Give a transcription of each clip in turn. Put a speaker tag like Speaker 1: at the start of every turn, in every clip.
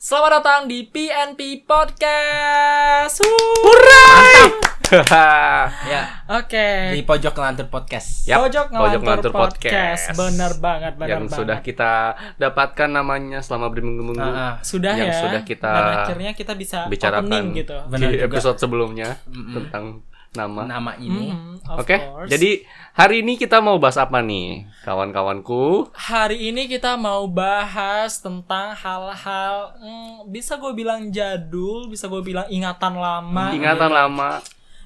Speaker 1: Selamat datang di PNP Podcast. Wuh.
Speaker 2: ya
Speaker 1: Oke.
Speaker 2: di pojok ngelantur podcast
Speaker 3: Yap,
Speaker 1: Pojok ngelantur podcast. Bener banget, bener
Speaker 3: yang
Speaker 1: banget.
Speaker 3: sudah kita dapatkan kan namanya selama berminggu-minggu
Speaker 2: Ah, ah.
Speaker 1: Sudah
Speaker 3: yang
Speaker 1: ya.
Speaker 3: sudah kita
Speaker 1: Dan akhirnya kita bisa
Speaker 3: bicarakan.
Speaker 1: opening gitu.
Speaker 2: Benar
Speaker 3: di
Speaker 2: juga.
Speaker 3: episode sebelumnya
Speaker 2: Mm-mm.
Speaker 3: tentang nama.
Speaker 2: nama ini
Speaker 1: Mhm, of
Speaker 3: Oke,
Speaker 1: course.
Speaker 3: jadi hari ini kita mau bahas apa nih, kawan-kawanku?
Speaker 1: hari ini kita mau bahas tentang hal-hal hmm, bisa gue bilang jadul, bisa gue bilang ingatan lama.
Speaker 3: Hmm, Ingatan lama,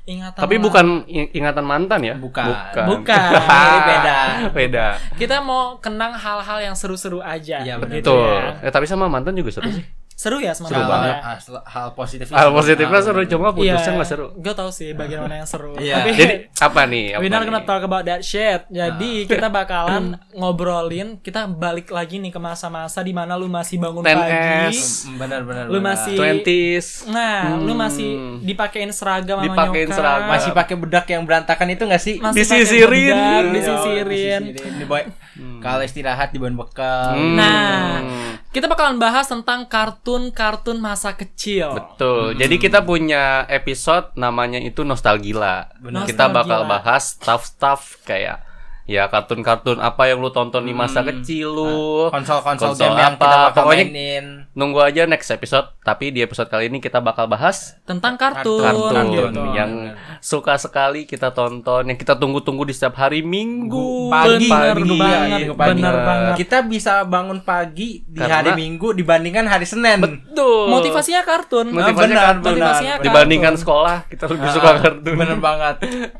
Speaker 1: Ingatan
Speaker 3: tapi
Speaker 1: Iya. lama.
Speaker 3: bukan i- ingatan mantan ya?
Speaker 2: Bukan.
Speaker 3: bukan, Ah,
Speaker 1: Bukan.
Speaker 2: Ini beda
Speaker 3: beda.
Speaker 1: Kita mau kenang hal-hal yang seru-seru aja.
Speaker 2: Iya,
Speaker 1: begitu
Speaker 3: Betul.
Speaker 1: ya.
Speaker 3: Eh, tapi sama mantan juga seru sih.
Speaker 1: Seru ya sama
Speaker 3: Seru
Speaker 2: Hal-
Speaker 3: banget.
Speaker 2: hal, hal positifnya
Speaker 1: Ah,
Speaker 3: Hal positifnya seru,
Speaker 1: Iya.
Speaker 3: cuma putusnya nggak seru.
Speaker 1: Gue tau sih bagian mana yang seru.
Speaker 2: Iya.
Speaker 1: Tapi
Speaker 3: Jadi apa nih? Apa
Speaker 1: we not
Speaker 3: nih?
Speaker 1: gonna talk about that shit.
Speaker 3: Ah.
Speaker 1: Jadi kita bakalan ngobrolin, kita balik lagi nih ke masa-masa di mana lu masih bangun
Speaker 3: 10S.
Speaker 1: pagi.
Speaker 2: benar-benar
Speaker 1: Lu masih
Speaker 3: 20s.
Speaker 1: Nah, lu masih dipakein seragam sama
Speaker 3: Hmm. Dipakein
Speaker 1: nyokap.
Speaker 3: seragam.
Speaker 2: masih pakai bedak yang berantakan itu nggak sih
Speaker 1: Masih
Speaker 3: Disisirin.
Speaker 1: pakai bedak,
Speaker 3: Iya,
Speaker 1: Disisirin.
Speaker 2: Di boy- kalau istirahat dibawain bekal
Speaker 3: Hmm.
Speaker 1: Nah, kita bakalan bahas tentang kartun-kartun masa kecil. Hmm.
Speaker 3: Betul. Jadi kita punya episode namanya itu Nostalgila.
Speaker 2: Benar.
Speaker 3: Kita bakal
Speaker 1: Nostalgila.
Speaker 3: bahas stuff-stuff kayak ya kartun-kartun apa yang lu tonton di
Speaker 1: Hmm.
Speaker 3: masa
Speaker 1: Ah.
Speaker 3: kecil lu.
Speaker 2: konsol-konsol
Speaker 3: Konsol
Speaker 2: game yang
Speaker 3: apa,
Speaker 2: kita bakal
Speaker 3: pokoknya-
Speaker 2: mainin
Speaker 3: Nunggu aja next episode, tapi di episode kali ini kita bakal bahas
Speaker 1: Tentang kartun,
Speaker 3: kartun iya,
Speaker 1: gitu.
Speaker 3: yang suka sekali kita tonton, yang kita tunggu-tunggu di setiap hari Minggu.
Speaker 1: Pagi,
Speaker 3: Bener
Speaker 1: pagi,
Speaker 3: banget,
Speaker 1: iya,
Speaker 3: pagi.
Speaker 1: bener banget.
Speaker 2: kita bisa bangun pagi di
Speaker 3: Karena-
Speaker 2: hari Minggu dibandingkan hari Senin
Speaker 3: Betul.
Speaker 1: Motivasinya kartun.
Speaker 3: Motivasinya
Speaker 2: benar,
Speaker 3: kartun.
Speaker 1: motivasinya kartun.
Speaker 3: dibandingkan sekolah, kita lebih
Speaker 2: Ah,
Speaker 3: suka kartun.
Speaker 2: bener banget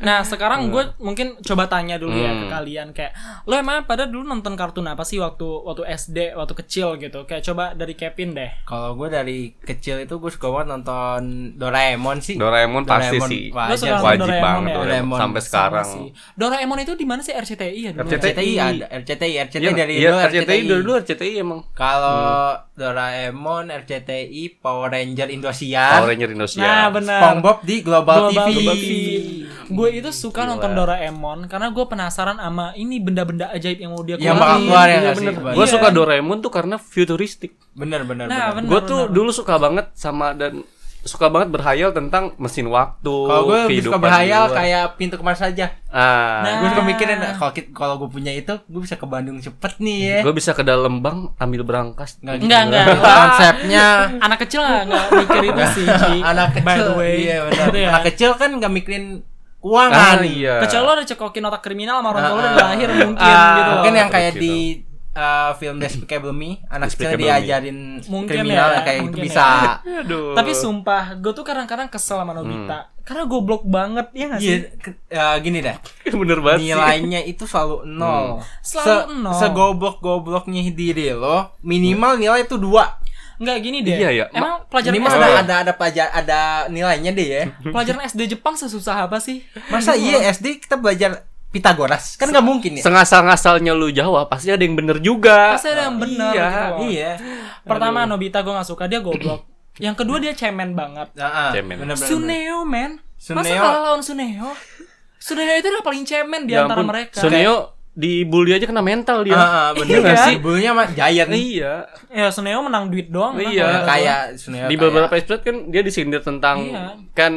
Speaker 1: Nah
Speaker 2: Iya.
Speaker 1: sekarang gue mungkin coba tanya dulu ya ke
Speaker 2: Hmm.
Speaker 1: kalian kayak lo emang pada dulu nonton kartun apa sih waktu waktu SD waktu kecil gitu kayak coba dari Kevin deh.
Speaker 2: Kalau gue dari kecil itu gue suka banget nonton Doraemon sih.
Speaker 3: Doraemon pasti
Speaker 2: Doraemon
Speaker 3: sih.
Speaker 1: Lo
Speaker 2: wajar
Speaker 1: suka nonton
Speaker 2: sih.
Speaker 3: Wajib
Speaker 1: Doraemon
Speaker 3: banget
Speaker 1: ya?
Speaker 3: Doraemon.
Speaker 2: Doraemon.
Speaker 3: sampai sekarang.
Speaker 1: Sama sih. Doraemon itu di mana sih RCTI ya dulu?
Speaker 3: RCTI.
Speaker 2: RCTI ada RCTI RCTI
Speaker 3: Iya,
Speaker 2: dari
Speaker 3: iya,
Speaker 2: dulu
Speaker 3: RCTI, dari dulu Hmm. RCTI emang.
Speaker 2: Kalau Doraemon, RCTI, Power Ranger
Speaker 3: Power
Speaker 2: Indosiar,
Speaker 3: Ranger Indonesia.
Speaker 1: Nah benar.
Speaker 2: Iya. SpongeBob di Global, TV.
Speaker 1: Gue itu suka nonton Doraemon karena gue penasaran sama ini benda-benda ajaib yang mau dia keluarin.
Speaker 2: Yang bakal keluar ya
Speaker 1: Iya,
Speaker 2: nggak sih?
Speaker 1: bener.
Speaker 2: Bang?
Speaker 3: Gue
Speaker 1: Iya.
Speaker 3: suka Doraemon tuh karena futuristik.
Speaker 2: Bener bener.
Speaker 1: Nah,
Speaker 2: bener.
Speaker 1: bener.
Speaker 3: Gue tuh dulu suka banget sama dan suka banget berhayal tentang mesin waktu.
Speaker 2: Kalau gue lebih suka
Speaker 3: Oh, kehidupan
Speaker 2: berhayal
Speaker 3: di luar.
Speaker 2: kayak pintu kemana saja.
Speaker 1: kan.
Speaker 3: Ah,
Speaker 1: Nah.
Speaker 2: Gue suka mikirin kalau ki- kalau gue punya itu, gue bisa ke Bandung cepet nih ya.
Speaker 1: eh.
Speaker 3: gue bisa ke dalam bank ambil berangkas.
Speaker 2: Nggak gitu.
Speaker 1: Enggak, enggak.
Speaker 2: Konsepnya
Speaker 1: Anak kecil nggak nggak mikir itu sih. Ji.
Speaker 2: anak kecil.
Speaker 1: By the way.
Speaker 2: Iya benar.
Speaker 1: Gitu ya.
Speaker 2: Anak kecil kan nggak mikirin keuangan.
Speaker 3: Ah, iya.
Speaker 1: Kecuali lo udah cekokin otak kriminal sama orang tua lo dari
Speaker 2: Ah.
Speaker 1: lahir mungkin
Speaker 2: Ah,
Speaker 1: gitu.
Speaker 2: Mungkin yang kayak
Speaker 3: Gitu.
Speaker 2: di uh, film Despicable Me, anak kecil
Speaker 3: Despicable
Speaker 2: diajarin
Speaker 1: Mungkin
Speaker 2: kriminal
Speaker 1: ya,
Speaker 2: ya, kayak gitu
Speaker 1: mungkin ya.
Speaker 2: bisa.
Speaker 3: Aduh.
Speaker 1: Tapi sumpah, gue tuh kadang-kadang kesel sama
Speaker 3: Hmm.
Speaker 1: Nobita. Karena goblok banget, ya gak
Speaker 2: Iya,
Speaker 1: sih?
Speaker 2: ke- uh, gini dah.
Speaker 3: bener banget sih.
Speaker 2: Nilainya itu
Speaker 3: Hmm.
Speaker 2: selalu nol.
Speaker 1: Selalu nol.
Speaker 2: Segoblok-gobloknya diri lo, minimal nilai itu dua.
Speaker 1: Enggak gini deh.
Speaker 3: Iya, iya.
Speaker 1: Emang pelajaran SD,
Speaker 2: Minimal ada ada ada pelajar ada nilainya deh ya.
Speaker 1: pelajaran SD Jepang sesusah apa sih?
Speaker 2: Masa iya SD kita belajar Pitagoras kan nggak mungkin ya.
Speaker 3: Sengasal-ngasalnya lu jawab, pasti ada yang bener
Speaker 1: Iya.
Speaker 3: juga.
Speaker 1: Pasti ada yang bener
Speaker 3: Iya.
Speaker 1: gitu loh.
Speaker 2: Iya.
Speaker 1: Pertama Nobita gue gak suka, dia goblok. yang kedua dia cemen banget.
Speaker 2: Heeh.
Speaker 3: Cemen.
Speaker 1: Suneo, men. Masa
Speaker 2: Suneo-
Speaker 1: kalah lawan Suneo? Suneo itu udah paling cemen di
Speaker 3: Ya
Speaker 1: antara
Speaker 3: ampun,
Speaker 1: mereka.
Speaker 3: Suneo dibully aja kena mental dia.
Speaker 2: Heeh, bener
Speaker 3: Iya nggak
Speaker 2: Iya.
Speaker 3: sih?
Speaker 2: Dulunya mah Giant.
Speaker 3: Iya.
Speaker 1: Ya, Suneo menang duit doang. menang
Speaker 3: Iya.
Speaker 1: kalau-
Speaker 2: Kayak Suneo
Speaker 3: di
Speaker 2: kayak-
Speaker 3: beberapa episode kan dia disindir tentang
Speaker 1: Iya.
Speaker 3: kan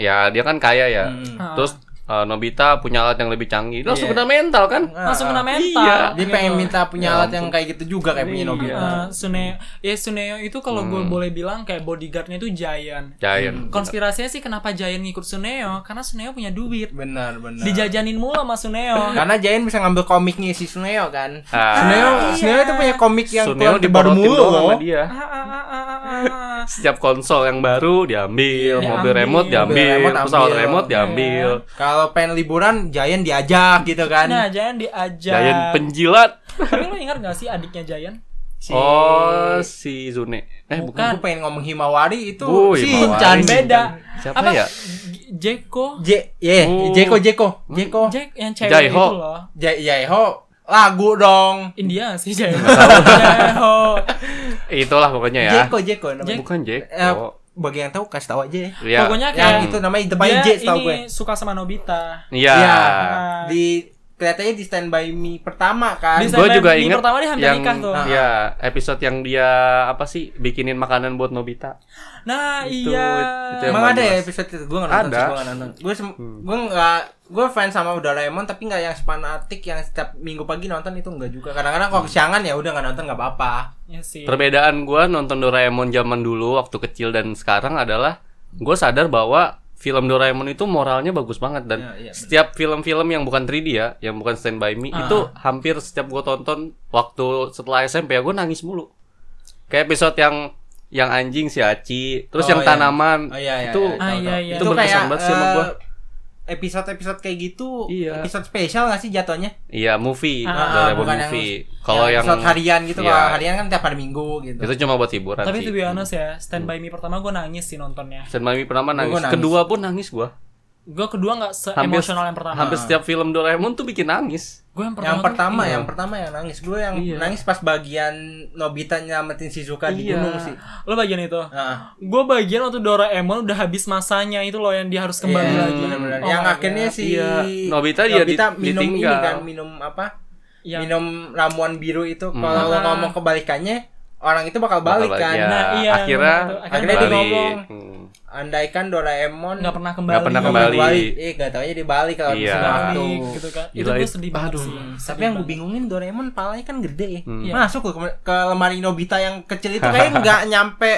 Speaker 3: ya dia kan kaya ya
Speaker 2: Hmm.
Speaker 1: Ah.
Speaker 3: terus uh, Nobita punya alat yang lebih canggih
Speaker 2: Iya.
Speaker 3: Dia langsung kena mental kan
Speaker 2: Hmm.
Speaker 1: langsung kena mental.
Speaker 3: Iya.
Speaker 2: Dia
Speaker 1: gitu.
Speaker 2: pengen minta
Speaker 3: Ya
Speaker 2: punya alat yang kayak gitu juga kayak punya Nobita.
Speaker 1: Eh, Suneo, ya Suneo itu kalau gue
Speaker 3: Hmm.
Speaker 1: boleh bilang kayak bodyguardnya itu Giant.
Speaker 2: Hmm.
Speaker 3: Giant
Speaker 1: Konspirasinya sih kenapa Giant ngikut Suneo? Karena Suneo punya duit.
Speaker 2: Benar, benar.
Speaker 1: Dijajanin mulu sama Suneo.
Speaker 2: Karena Jayan bisa ngambil komiknya si Suneo kan.
Speaker 3: Ah.
Speaker 2: Suneo,
Speaker 1: Iya.
Speaker 2: Suneo itu punya komik yang keluar
Speaker 3: Suneo
Speaker 2: baru
Speaker 3: diporotin
Speaker 2: mulu
Speaker 3: doang
Speaker 2: loh.
Speaker 3: sama dia
Speaker 1: Ah, ah, ah, ah, ah, ah.
Speaker 3: setiap konsol yang baru diambil
Speaker 1: Iya, Diambil.
Speaker 3: mobil remote
Speaker 1: Mobil Iya.
Speaker 3: diambil
Speaker 2: remote
Speaker 3: pesawat
Speaker 2: ambil.
Speaker 3: remote diambil
Speaker 2: Kalau pengen liburan Jayan diajak gitu kan.
Speaker 1: Nah, Giant diajak.
Speaker 3: Giant penjilat
Speaker 1: Tapi lo ingat gak sih adiknya Giant?
Speaker 2: Si-
Speaker 3: oh si Zune eh bukan
Speaker 1: Bukan.
Speaker 2: Gue pengen ngomong Himawari itu
Speaker 3: Bu,
Speaker 2: Shinchan
Speaker 3: Himawari.
Speaker 2: beda.
Speaker 1: Beda.
Speaker 3: Siapa ya?
Speaker 1: G- Jeko?
Speaker 2: J, ye,
Speaker 3: Oh.
Speaker 2: Jeko Jeko, Jeko.
Speaker 1: Jack yang cewek
Speaker 3: Jaiho.
Speaker 1: itu loh.
Speaker 2: J, Jaiho lagu dong.
Speaker 1: India gak sih Jaiho. Jaiho. Oh.
Speaker 3: itulah pokoknya ya
Speaker 2: Jeko Jeko namanya.
Speaker 3: bukan Jack
Speaker 2: Eh,
Speaker 3: oh.
Speaker 2: bagi yang tahu kasih tahu aja ya.
Speaker 3: Iya.
Speaker 1: Pokoknya
Speaker 2: Yang
Speaker 1: kayak
Speaker 2: itu namanya depannya
Speaker 1: dia
Speaker 2: J tahu gue.
Speaker 1: ini suka sama Nobita.
Speaker 3: Iya.
Speaker 2: Iya.
Speaker 1: Nah,
Speaker 2: Di kelihatannya di Stand By Me pertama kan.
Speaker 1: Di Stand
Speaker 3: Gue
Speaker 1: By
Speaker 3: juga
Speaker 1: Me
Speaker 3: inget
Speaker 1: pertama dia hampir
Speaker 3: yang
Speaker 1: nikah tuh.
Speaker 2: Ah,
Speaker 3: ya episode yang dia apa sih bikinin makanan buat Nobita.
Speaker 1: Nah,
Speaker 3: Itu-
Speaker 1: iya.
Speaker 3: itu yang
Speaker 2: Emang
Speaker 3: paling
Speaker 2: ada ya
Speaker 3: jelas.
Speaker 2: episode itu? Gue nggak nonton,
Speaker 3: Ada. Hmm.
Speaker 2: sih, gua nggak nonton. Gue gue nggak gue fans sama Doraemon tapi nggak yang fanatik yang setiap minggu pagi nonton itu nggak juga. Kadang-kadang kalau kesiangan ya udah nggak nonton nggak apa-apa.
Speaker 1: Iya sih.
Speaker 3: Perbedaan gue nonton Doraemon zaman dulu waktu kecil dan sekarang adalah gue sadar bahwa film Doraemon itu moralnya bagus banget dan
Speaker 2: Ya, iya, Ah, bener.
Speaker 3: setiap film-film yang bukan 3D ya, yang bukan Stand By Me itu hampir setiap gue tonton waktu setelah SMP ya gue nangis mulu. Kayak episode yang yang anjing si Aci, terus
Speaker 2: Oh,
Speaker 3: yang
Speaker 2: iya.
Speaker 3: tanaman
Speaker 2: Oh, iya, iya,
Speaker 3: itu
Speaker 2: iya,
Speaker 1: tahu, tahu.
Speaker 2: iya, iya.
Speaker 1: Itu
Speaker 3: berkesan banget sih sama
Speaker 2: eh,
Speaker 3: gua.
Speaker 2: Episode-episode kayak gitu,
Speaker 3: Iya.
Speaker 2: episode spesial nggak sih jatuhnya?
Speaker 3: Iya movie,
Speaker 1: Ah,
Speaker 3: Doraemon
Speaker 2: bukan yang-
Speaker 3: movie. Kalau yang,
Speaker 2: episode harian gitu,
Speaker 3: Iya.
Speaker 2: kalau harian kan tiap hari minggu gitu.
Speaker 3: itu cuma buat hiburan
Speaker 1: Tapi
Speaker 3: sih.
Speaker 1: to be honest ya, Stand By Me pertama gue nangis sih nontonnya.
Speaker 3: Stand By Me pertama nangis.
Speaker 2: nangis.
Speaker 3: kedua pun nangis gua.
Speaker 1: Gue kedua nggak
Speaker 3: Hampir-
Speaker 1: se-emosional yang pertama.
Speaker 3: Hampir setiap film Doraemon tuh bikin nangis.
Speaker 1: Gue yang pertama.
Speaker 2: yang
Speaker 1: tuh- Iya.
Speaker 2: pertama, yang pertama yang nangis gue yang nangis pas bagian Nobita nyelamatin Shizuka di
Speaker 3: Iya.
Speaker 2: gunung sih.
Speaker 1: Lo bagian itu?
Speaker 2: Nah,
Speaker 1: Gue bagian waktu Doraemon udah habis masanya itu loh yang dia harus kembali
Speaker 2: iya,
Speaker 1: lagi.
Speaker 2: benar-benar.
Speaker 1: Oh
Speaker 2: yang
Speaker 1: my
Speaker 2: akhirnya
Speaker 1: God.
Speaker 2: si
Speaker 3: Iya. Nobita dia di-
Speaker 2: minum
Speaker 3: ditinggal.
Speaker 2: ini kan minum apa?
Speaker 1: Yang-
Speaker 2: Minum ramuan biru itu kalau
Speaker 1: Iya.
Speaker 2: lo ngomong kebalikannya orang itu bakal balik
Speaker 3: Hmm.
Speaker 2: kan.
Speaker 3: Bakal- ya,
Speaker 1: Nah, iya,
Speaker 3: akhirnya
Speaker 1: bener tuh.
Speaker 2: Akhirnya dia
Speaker 3: balik.
Speaker 2: ngomong.
Speaker 3: Hmm.
Speaker 2: Andaikan Doraemon
Speaker 1: nggak pernah kembali.
Speaker 3: Nggak pernah
Speaker 2: nggak
Speaker 3: kembali.
Speaker 2: Eh, gak tau aja dia balik kalau
Speaker 3: Iya.
Speaker 2: misalnya waktu.
Speaker 1: Balik, gitu kan. Itu
Speaker 3: Gila,
Speaker 1: gue
Speaker 3: itu-
Speaker 1: sedih banget
Speaker 3: aduh. Hmm.
Speaker 1: sih.
Speaker 2: Tapi yang gue bingungin Doraemon palanya kan gede ya.
Speaker 1: Iya.
Speaker 2: Masuk ke, ke lemari Nobita yang kecil itu kayaknya nggak nyampe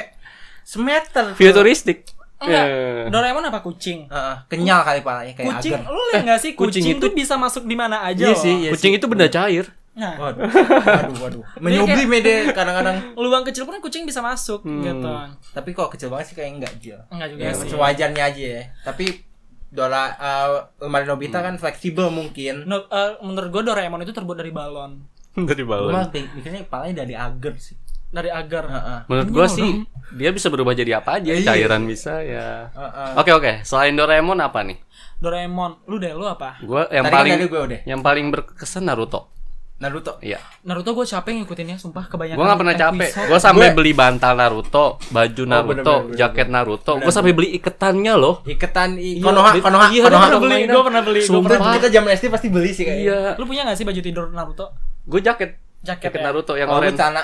Speaker 2: semeter. tuh.
Speaker 3: Futuristik.
Speaker 1: Enggak.
Speaker 3: Eh.
Speaker 1: Doraemon apa kucing?
Speaker 2: Heeh, kenyal kali palanya kayak
Speaker 1: Kucing,
Speaker 2: Eh, agar.
Speaker 1: lu liat nggak sih kucing,
Speaker 3: kucing
Speaker 1: itu bisa masuk di mana aja
Speaker 2: Oh, Iya
Speaker 1: loh.
Speaker 2: sih, iya
Speaker 3: Kucing
Speaker 2: sih.
Speaker 3: itu benda cair.
Speaker 1: Nah,
Speaker 2: Waduh, waduh, waduh. Menyubi mede kadang-kadang.
Speaker 1: luang kecil pun kucing bisa masuk gitu.
Speaker 2: Tapi kok kecil banget sih kayak enggak Jil.
Speaker 1: Enggak juga
Speaker 2: Ya,
Speaker 1: sih.
Speaker 2: sewajarnya aja ya. Tapi Dora eh, lemari Nobita
Speaker 3: Hmm.
Speaker 2: kan fleksibel mungkin.
Speaker 1: No- eh, menurut gue Doraemon itu terbuat dari balon,
Speaker 3: Dari
Speaker 2: Cuma
Speaker 3: balon.
Speaker 2: mikirnya palanya dari agar sih.
Speaker 1: dari agar.
Speaker 2: Heeh.
Speaker 3: Menurut gua sih dia bisa berubah jadi apa
Speaker 2: Iya.
Speaker 3: aja, cairan bisa ya.
Speaker 2: Heeh.
Speaker 3: Oke oke, selain Doraemon apa nih?
Speaker 1: Doraemon, lu deh lu apa?
Speaker 3: Gua yang
Speaker 2: Tadi kan
Speaker 3: paling
Speaker 2: dari gue udah.
Speaker 3: yang paling berkesan Naruto.
Speaker 2: Naruto.
Speaker 3: Iya.
Speaker 1: Naruto gue capek ngikutinnya, sumpah kebanyakan.
Speaker 3: Gua nggak pernah capek.
Speaker 1: Ya kan, episode.
Speaker 3: Gua sampai
Speaker 2: Gua- Oh,
Speaker 3: beli bantal Naruto, baju Naruto,
Speaker 2: bener, bener,
Speaker 3: jaket Naruto. Gua sampai beli iketannya loh.
Speaker 2: Iketan i- Konoha,
Speaker 3: di-
Speaker 2: Konoha,
Speaker 3: iya,
Speaker 2: Konoha
Speaker 3: gua
Speaker 2: tuh
Speaker 3: pernah beli,
Speaker 2: mainan.
Speaker 3: gua pernah beli, gua
Speaker 2: Sumpah,
Speaker 3: pernah-
Speaker 2: kita zaman SD pasti beli sih kayaknya.
Speaker 3: Iya.
Speaker 1: Lu punya gak sih baju tidur Naruto?
Speaker 3: Gue jaket
Speaker 1: Jaket
Speaker 3: jaket
Speaker 1: ya?
Speaker 3: Naruto yang
Speaker 2: Kalau gue
Speaker 3: oranye.
Speaker 2: celana,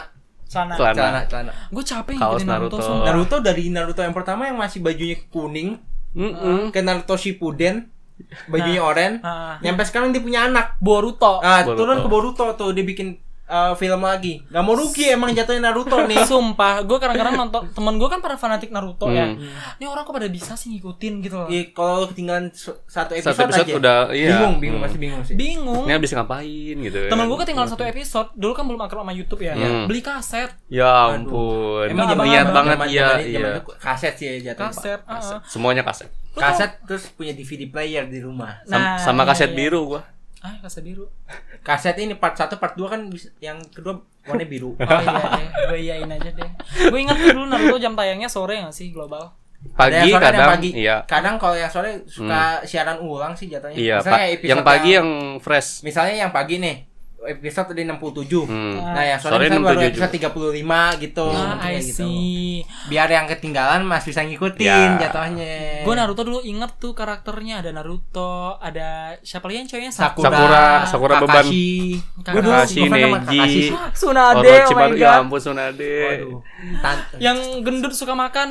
Speaker 1: Sana.
Speaker 3: Celana. Oh.
Speaker 2: celana, celana.
Speaker 1: Gue capek
Speaker 3: Kaos
Speaker 1: ngikutin Naruto.
Speaker 3: Naruto.
Speaker 1: sumpah.
Speaker 2: Naruto dari Naruto yang pertama yang masih bajunya kuning
Speaker 3: Mm-mm.
Speaker 2: ke Naruto Shippuden bajunya
Speaker 3: Nah.
Speaker 2: oranye.
Speaker 1: Ah.
Speaker 2: Nyampe sekarang dia punya anak.
Speaker 1: Boruto.
Speaker 2: Ah,
Speaker 3: Boruto.
Speaker 2: turun ke Boruto tuh dia bikin eh, film lagi. Gak mau rugi emang jatuhnya Naruto nih.
Speaker 1: Sumpah, gue kadang-kadang nonton temen gue kan para fanatik Naruto ya.
Speaker 3: Hmm.
Speaker 1: Ini orang kok pada bisa sih ngikutin gitu loh.
Speaker 2: Iya, kalau lu ketinggalan su- satu episode,
Speaker 3: Satu episode
Speaker 2: aja.
Speaker 3: udah iya.
Speaker 2: Bingung, bingung, pasti bingung sih.
Speaker 1: Bingung.
Speaker 3: Ini habis ngapain gitu.
Speaker 1: Oh. Temen gue ketinggalan satu episode, dulu kan belum akrab sama YouTube ya.
Speaker 3: Hmm.
Speaker 1: Beli kaset,
Speaker 3: Ya ampun.
Speaker 2: Emang
Speaker 1: zaman- zaman-
Speaker 3: niat banget
Speaker 2: Zaman-
Speaker 3: iya
Speaker 2: zaman-
Speaker 3: iya.
Speaker 2: zaman itu kaset sih ya jatuhnya.
Speaker 1: kaset. ah, ah.
Speaker 3: Semuanya kaset.
Speaker 2: Kaset terus punya DVD player di rumah.
Speaker 3: Sam-
Speaker 1: Nah,
Speaker 3: sama
Speaker 1: iya,
Speaker 3: kaset
Speaker 1: iya.
Speaker 3: biru gua.
Speaker 1: Ah, kaset biru.
Speaker 2: Kaset ini part 1, part 2 kan bis- yang kedua warnanya biru.
Speaker 1: Oh iya deh, gue iyain aja deh. Gue ingat tuh dulu Naruto jam tayangnya sore gak sih global?
Speaker 2: Ada
Speaker 3: Pagi
Speaker 2: yang sore, ada yang
Speaker 3: kadang
Speaker 2: pagi.
Speaker 3: iya. Hmm.
Speaker 2: Kadang kalau yang sore suka siaran ulang sih jatuhnya.
Speaker 3: Iya,
Speaker 2: Misalnya
Speaker 3: Pak.
Speaker 2: episode
Speaker 3: Yang pagi yang fresh.
Speaker 2: misalnya yang pagi nih episode di 67.
Speaker 3: Hmm.
Speaker 2: Nah, yang sore,
Speaker 3: Sore
Speaker 2: misalnya baru
Speaker 3: 67.
Speaker 2: episode 35 gitu.
Speaker 3: Oh,
Speaker 1: Ah, I
Speaker 2: Kayak gitu.
Speaker 1: see.
Speaker 2: Biar yang ketinggalan masih bisa ngikutin
Speaker 3: Ya.
Speaker 2: jatuhnya.
Speaker 1: Gue Naruto dulu inget tuh karakternya ada Naruto, ada siapa lagi yang cowoknya Sakura.
Speaker 3: Sakura, Sakura beban.
Speaker 2: Gue dulu
Speaker 3: Kakashi,
Speaker 2: ngefans sama
Speaker 3: Neji.
Speaker 2: Kakashi.
Speaker 1: Tsunade, oh my
Speaker 3: Orochimaru,
Speaker 1: god.
Speaker 3: ya ampun Sunade.
Speaker 2: Waduh. Tan-
Speaker 1: Yang gendut suka makan.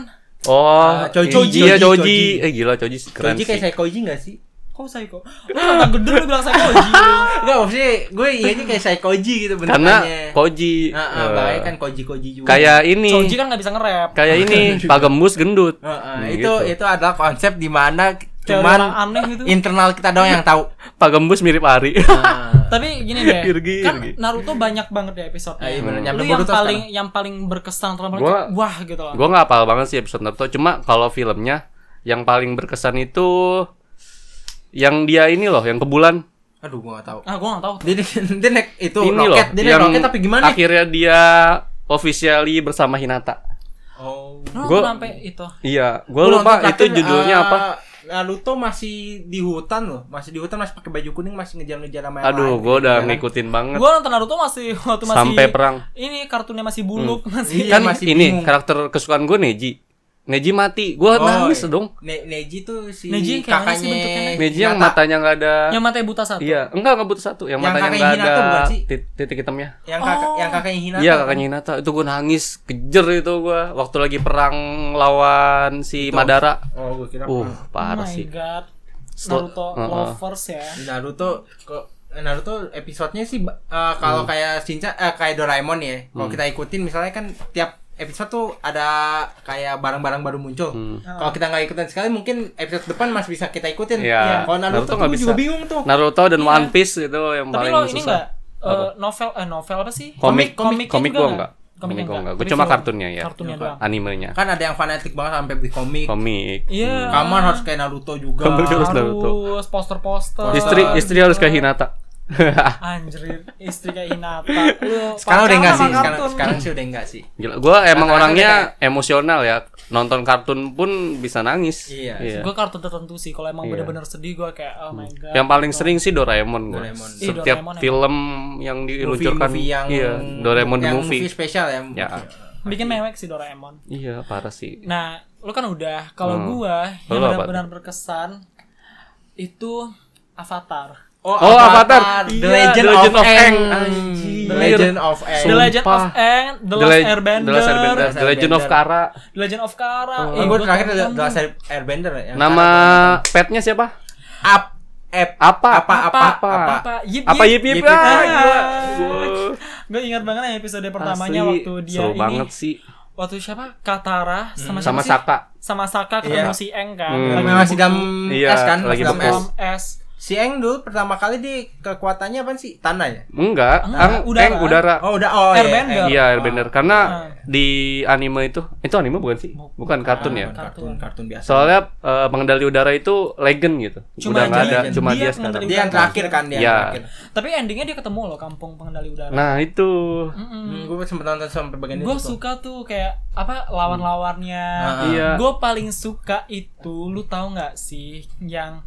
Speaker 3: Oh,
Speaker 2: Ah, Choji,
Speaker 3: Choji, iya
Speaker 2: Choji,
Speaker 3: Choji.
Speaker 2: Choji.
Speaker 3: Eh gila Choji keren
Speaker 2: Koji kayak
Speaker 3: sih.
Speaker 2: Saikoji gak sih?
Speaker 1: Kok psycho? Lu kata gendut lu bilang "Oh, psycho
Speaker 2: Enggak, maksudnya gue iya kayak Saikoji gitu
Speaker 3: Karena
Speaker 2: bentukannya.
Speaker 3: Koji
Speaker 2: Heeh,
Speaker 3: eh,
Speaker 2: makanya kan Koji-Koji juga.
Speaker 3: kayak ini.
Speaker 1: Choji kan gak bisa nge-rap.
Speaker 3: Kayak ini, Pak Gembus gendut.
Speaker 2: kan Heeh,
Speaker 3: Hmm,
Speaker 2: itu
Speaker 3: gitu.
Speaker 2: itu adalah konsep di mana
Speaker 1: Teori
Speaker 2: cuman
Speaker 1: orang aneh gitu.
Speaker 3: Iya.
Speaker 2: internal kita doang yang tahu.
Speaker 3: Pak Gembus mirip Ari.
Speaker 1: Tapi gini deh,
Speaker 3: Irgi,
Speaker 1: kan
Speaker 3: Irgi.
Speaker 1: Naruto banyak banget ya episode.
Speaker 2: Ah, iya
Speaker 1: Lu
Speaker 2: bener. Nyampe
Speaker 1: yang
Speaker 2: Boruto
Speaker 1: paling yang paling berkesan atau yang paling
Speaker 3: Gua-
Speaker 1: wah gitu loh.
Speaker 3: Gua nggak hafal banget sih episode Naruto, cuma kalau filmnya yang paling berkesan itu yang dia ini loh, yang ke bulan.
Speaker 2: Aduh, gua gak tahu.
Speaker 1: Ah, gua gak tahu.
Speaker 2: Dia, dia, dia naik itu
Speaker 3: ini
Speaker 2: roket,
Speaker 3: loh,
Speaker 2: dia naik roket tapi gimana?
Speaker 3: Akhirnya dia officially bersama Hinata.
Speaker 2: Oh.
Speaker 1: Lu
Speaker 3: Gua-
Speaker 1: Nah, sampai itu.
Speaker 3: Iya, gua lupa itu judulnya
Speaker 2: ah,
Speaker 3: apa.
Speaker 2: Eh, Naruto masih di hutan loh, masih di hutan masih pakai baju kuning masih ngejar-ngejar sama yang
Speaker 3: Aduh,
Speaker 2: lain.
Speaker 3: gua udah
Speaker 2: Jalan.
Speaker 3: ngikutin banget.
Speaker 1: Gua nonton Naruto masih waktu masih
Speaker 3: Sampai perang.
Speaker 1: Ini kartunnya masih buluk, masih
Speaker 2: Iya,
Speaker 3: kan
Speaker 2: masih
Speaker 3: ini
Speaker 2: bingung.
Speaker 3: karakter kesukaan gue Neji. Neji mati. Gua nangis
Speaker 2: iya.
Speaker 3: dong.
Speaker 2: Ne Neji tuh si
Speaker 1: Neji yang kayak mana sih
Speaker 2: kakaknya
Speaker 1: bentuknya, Nek?
Speaker 3: Neji yang
Speaker 2: Hinata.
Speaker 3: matanya nggak ada.
Speaker 1: Eh, Yang matanya buta satu.
Speaker 3: Iya, enggak enggak butuh satu. Yang,
Speaker 2: Yang
Speaker 3: matanya
Speaker 2: kakek
Speaker 3: nggak ada
Speaker 2: Hinata bukan sih?
Speaker 3: tit- titik hitamnya.
Speaker 2: yang kakak yang
Speaker 1: Oh.
Speaker 2: kakaknya Hinata.
Speaker 3: Iya, kakaknya Hinata. Itu gua nangis, kejer itu gua waktu lagi perang lawan si Madara.
Speaker 2: Oh, gue kira
Speaker 1: Oh
Speaker 3: Uh,
Speaker 1: my
Speaker 3: parah sih.
Speaker 1: god.
Speaker 3: Slow-
Speaker 1: Naruto
Speaker 3: Uh-uh.
Speaker 1: lovers ya.
Speaker 2: Naruto kok eh, Naruto episodenya sih ba- eh, kalau
Speaker 3: Hmm.
Speaker 2: kayak Shincha eh, kayak Doraemon ya. Kalau kita ikutin misalnya kan tiap episode tuh ada kayak barang-barang baru muncul.
Speaker 3: Hmm.
Speaker 2: Kalau kita nggak ikutin sekali mungkin episode depan masih bisa kita ikutin.
Speaker 3: Iya.
Speaker 2: Kalau Naruto,
Speaker 3: Naruto nggak
Speaker 2: tuh
Speaker 3: bisa. Nah.
Speaker 2: juga bingung tuh.
Speaker 3: Naruto dan One Piece itu yang
Speaker 1: Iya. Tapi
Speaker 3: paling
Speaker 1: lo ini
Speaker 3: susah.
Speaker 1: enggak eh, novel eh novel apa sih?
Speaker 3: Komik, komik,
Speaker 1: komiknya
Speaker 3: komik
Speaker 1: juga
Speaker 3: gua enggak.
Speaker 1: Komiknya
Speaker 3: Komik gua enggak. Gua
Speaker 1: Tapi
Speaker 3: cuma
Speaker 1: film-
Speaker 3: kartunnya ya.
Speaker 1: Kartunnya doang.
Speaker 3: Animenya.
Speaker 2: Kan ada yang fanatik banget sampai beli komik.
Speaker 3: Komik.
Speaker 1: Iya.
Speaker 2: Kamar harus kayak Naruto juga.
Speaker 3: Kamar harus- Naruto.
Speaker 1: harus poster-poster.
Speaker 3: Istri
Speaker 2: Oh,
Speaker 3: istri harus kayak Hinata.
Speaker 1: Anjir, istri kayak Hinata. Lu
Speaker 2: Sekarang
Speaker 1: pacaran
Speaker 2: udah enggak
Speaker 1: sama
Speaker 2: sih, sekarang
Speaker 1: kartun.
Speaker 2: sekarang sih udah enggak sih.
Speaker 3: Gila, gua emang
Speaker 2: Kadang-kadang
Speaker 3: orangnya emosional ya. Nonton kartun pun bisa nangis.
Speaker 2: Iya.
Speaker 1: Gue kartun tertentu sih kalau emang bener-bener sedih gue kayak oh my god.
Speaker 3: Iya. Hmm. Yang paling sering sih Doraemon gua.
Speaker 2: Doraemon.
Speaker 1: Ih,
Speaker 3: Setiap
Speaker 1: Doraemon emang.
Speaker 3: film yang diluncurkan
Speaker 2: Movie-movie yang
Speaker 3: iya, Doraemon the
Speaker 2: yang
Speaker 3: movie.
Speaker 2: spesial ya.
Speaker 3: Ya.
Speaker 1: Bikin mewek sih Doraemon.
Speaker 3: Iya, parah sih.
Speaker 1: Nah, lu kan udah. Kalau
Speaker 3: Hmm.
Speaker 1: gua yang
Speaker 3: Lu apa
Speaker 1: benar-benar berkesan itu Avatar.
Speaker 2: Oh,
Speaker 3: Oh, Avatar.
Speaker 2: The
Speaker 3: Iya,
Speaker 2: Legend,
Speaker 3: The Legend
Speaker 2: of,
Speaker 3: of
Speaker 2: Aang.
Speaker 3: Aang.
Speaker 2: The
Speaker 3: Anjir.
Speaker 2: Legend of Aang.
Speaker 1: The Legend of
Speaker 3: Sumpah.
Speaker 1: Aang, The Last
Speaker 3: Le-
Speaker 1: Airbender,
Speaker 3: The Last Airbender, The Legend of Kara.
Speaker 1: The Legend of Kara.
Speaker 2: Oh,
Speaker 1: Eh,
Speaker 2: gue
Speaker 1: gua
Speaker 2: terakhir
Speaker 1: tonton
Speaker 2: The
Speaker 1: nih.
Speaker 2: The Last Airbender ya. Yang
Speaker 3: Nama
Speaker 2: karakter-
Speaker 3: petnya siapa?
Speaker 2: Up Ep
Speaker 3: Apa?
Speaker 2: apa apa
Speaker 3: Apa?
Speaker 2: apa.
Speaker 1: apa yip
Speaker 3: Apa yip yip?
Speaker 2: Yip, yip.
Speaker 3: Ah, gila.
Speaker 1: Gue ingat banget yang episode pertamanya
Speaker 3: Asli,
Speaker 1: waktu dia
Speaker 3: seru
Speaker 1: ini.
Speaker 3: banget sih
Speaker 1: Waktu siapa? Katara sama siapa
Speaker 3: sama
Speaker 1: sih?
Speaker 3: Saka.
Speaker 1: Sama Saka ketemu
Speaker 2: Iya.
Speaker 1: si Eng kan.
Speaker 3: Hmm.
Speaker 1: Lagi
Speaker 2: Memang masih
Speaker 1: beku-
Speaker 2: dalam
Speaker 3: Iya,
Speaker 2: es kan,
Speaker 3: lagi
Speaker 2: masih dalam es.
Speaker 1: dalam es.
Speaker 2: Si Aang dulu pertama kali di kekuatannya apa sih? Tanah ya?
Speaker 1: Enggak,
Speaker 3: Enggak, Ang-
Speaker 1: udara. Ah.
Speaker 3: Eng udara.
Speaker 2: Oh, udah oh
Speaker 1: Airbender.
Speaker 2: Aang.
Speaker 3: Iya, Airbender. Karena di anime itu, itu anime bukan sih? Bukan kartun ya.
Speaker 2: Kartun, kartun biasa.
Speaker 3: Soalnya eh, pengendali udara itu legend gitu.
Speaker 1: Cuma
Speaker 3: Udah nggak
Speaker 1: dia
Speaker 3: ada,
Speaker 1: legend.
Speaker 3: cuma
Speaker 1: Dia
Speaker 3: dia
Speaker 1: pengendali
Speaker 3: sekarang.
Speaker 2: Dia yang terakhir kan dia yang
Speaker 3: Iya.
Speaker 2: terakhir.
Speaker 1: Tapi endingnya dia ketemu loh kampung pengendali udara.
Speaker 3: Nah, itu.
Speaker 2: Hmm, gue sempet nonton sampai bagian itu.
Speaker 1: Gue suka tuh kayak apa lawan-lawannya.
Speaker 2: Ah,
Speaker 3: Iya.
Speaker 1: Gue paling suka itu, lu tahu nggak sih yang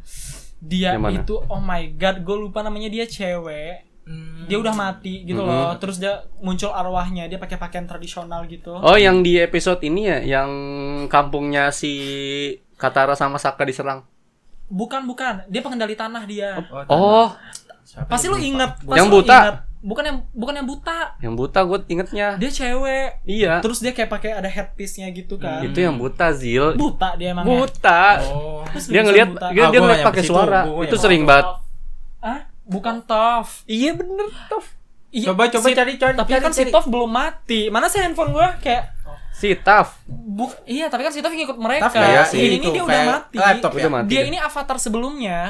Speaker 1: dia
Speaker 3: Yang mana?
Speaker 1: itu oh my god, gue lupa namanya dia cewek.
Speaker 2: Hmm.
Speaker 1: Dia udah mati gitu loh.
Speaker 3: Mm-hmm.
Speaker 1: Terus dia muncul arwahnya, dia pakai pakaian tradisional gitu.
Speaker 3: Oh, yang di episode ini ya yang kampungnya si Katara sama Saka diserang.
Speaker 1: Bukan, bukan. Dia pengendali tanah dia.
Speaker 3: Oh,
Speaker 2: Siapa
Speaker 1: Pasti
Speaker 2: itu?
Speaker 1: lu inget. Pasti
Speaker 3: Yang
Speaker 1: lu
Speaker 3: buta.
Speaker 1: inget. Bukan yang bukan yang buta.
Speaker 3: yang buta gue ingetnya.
Speaker 1: Dia cewek.
Speaker 3: Iya.
Speaker 1: Terus dia kayak pakai ada headpiece-nya gitu kan.
Speaker 3: Itu yang buta Zil.
Speaker 1: Buta dia emangnya.
Speaker 3: Buta.
Speaker 2: Oh.
Speaker 1: Terus
Speaker 3: Dia
Speaker 1: bisa
Speaker 3: ngelihat
Speaker 1: ya?
Speaker 3: gitu
Speaker 1: buta.
Speaker 3: dia,
Speaker 2: Ah,
Speaker 3: dia
Speaker 2: gua
Speaker 3: ngeliat
Speaker 2: nyampe
Speaker 3: pakai
Speaker 2: situ,
Speaker 3: suara.
Speaker 2: gua
Speaker 3: Itu
Speaker 2: nyampe
Speaker 3: sering banget.
Speaker 1: Hah? Bukan Tov.
Speaker 3: Iya bener Tof.
Speaker 1: Iya,
Speaker 2: Coba coba
Speaker 1: si-
Speaker 2: cari cari.
Speaker 1: Tapi
Speaker 3: Iya,
Speaker 2: cari,
Speaker 1: kan si
Speaker 2: cari.
Speaker 1: Tov belum mati. Mana sih handphone gua kayak
Speaker 3: Si Taf.
Speaker 1: bu iya tapi kan si Tov ngikut mereka.
Speaker 2: Taf
Speaker 3: ya
Speaker 2: kayak
Speaker 1: Ini-
Speaker 2: si
Speaker 1: ini,
Speaker 2: itu,
Speaker 1: dia udah
Speaker 2: kayak
Speaker 1: mati.
Speaker 2: laptop ya?
Speaker 3: Udah mati.
Speaker 1: Dia
Speaker 3: dia.
Speaker 1: ini avatar sebelumnya.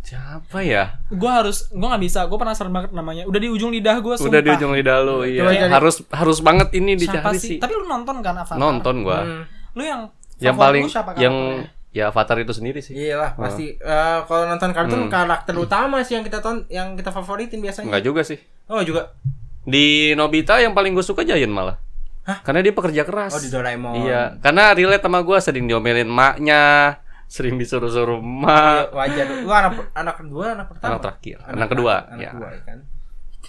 Speaker 3: Siapa ya?
Speaker 1: Gua harus gua nggak bisa. Gua penasaran banget namanya. Udah di ujung lidah gua sumpah.
Speaker 3: Udah di ujung lidah lu iya.
Speaker 2: Coba cari.
Speaker 3: Harus harus banget ini
Speaker 1: Siapa
Speaker 3: dicari
Speaker 1: sih?
Speaker 3: sih.
Speaker 1: Tapi lu nonton kan avatar?
Speaker 3: Nonton gua.
Speaker 2: Hmm.
Speaker 1: Lu yang
Speaker 3: Yang
Speaker 1: favorit
Speaker 3: paling
Speaker 1: lu siapa kan?
Speaker 3: yang
Speaker 1: karakternya?
Speaker 3: ya Avatar itu sendiri sih.
Speaker 2: Iya lah pasti Eh, kalau nonton kartun
Speaker 3: Hmm.
Speaker 2: karakter utama sih yang kita ton yang kita favoritin biasanya.
Speaker 3: Enggak juga sih.
Speaker 2: Oh juga.
Speaker 3: Di Nobita yang paling gue suka Giant malah.
Speaker 2: Hah?
Speaker 3: Karena dia pekerja keras.
Speaker 2: Oh di Doraemon.
Speaker 3: Iya, karena relate sama gue sering diomelin maknya, sering disuruh-suruh
Speaker 2: Iya,
Speaker 3: mak.
Speaker 2: Wajar. Lu anak anak kedua anak pertama.
Speaker 3: Anak terakhir, anak kedua,
Speaker 2: Anak
Speaker 3: ya.
Speaker 2: kedua ya kan.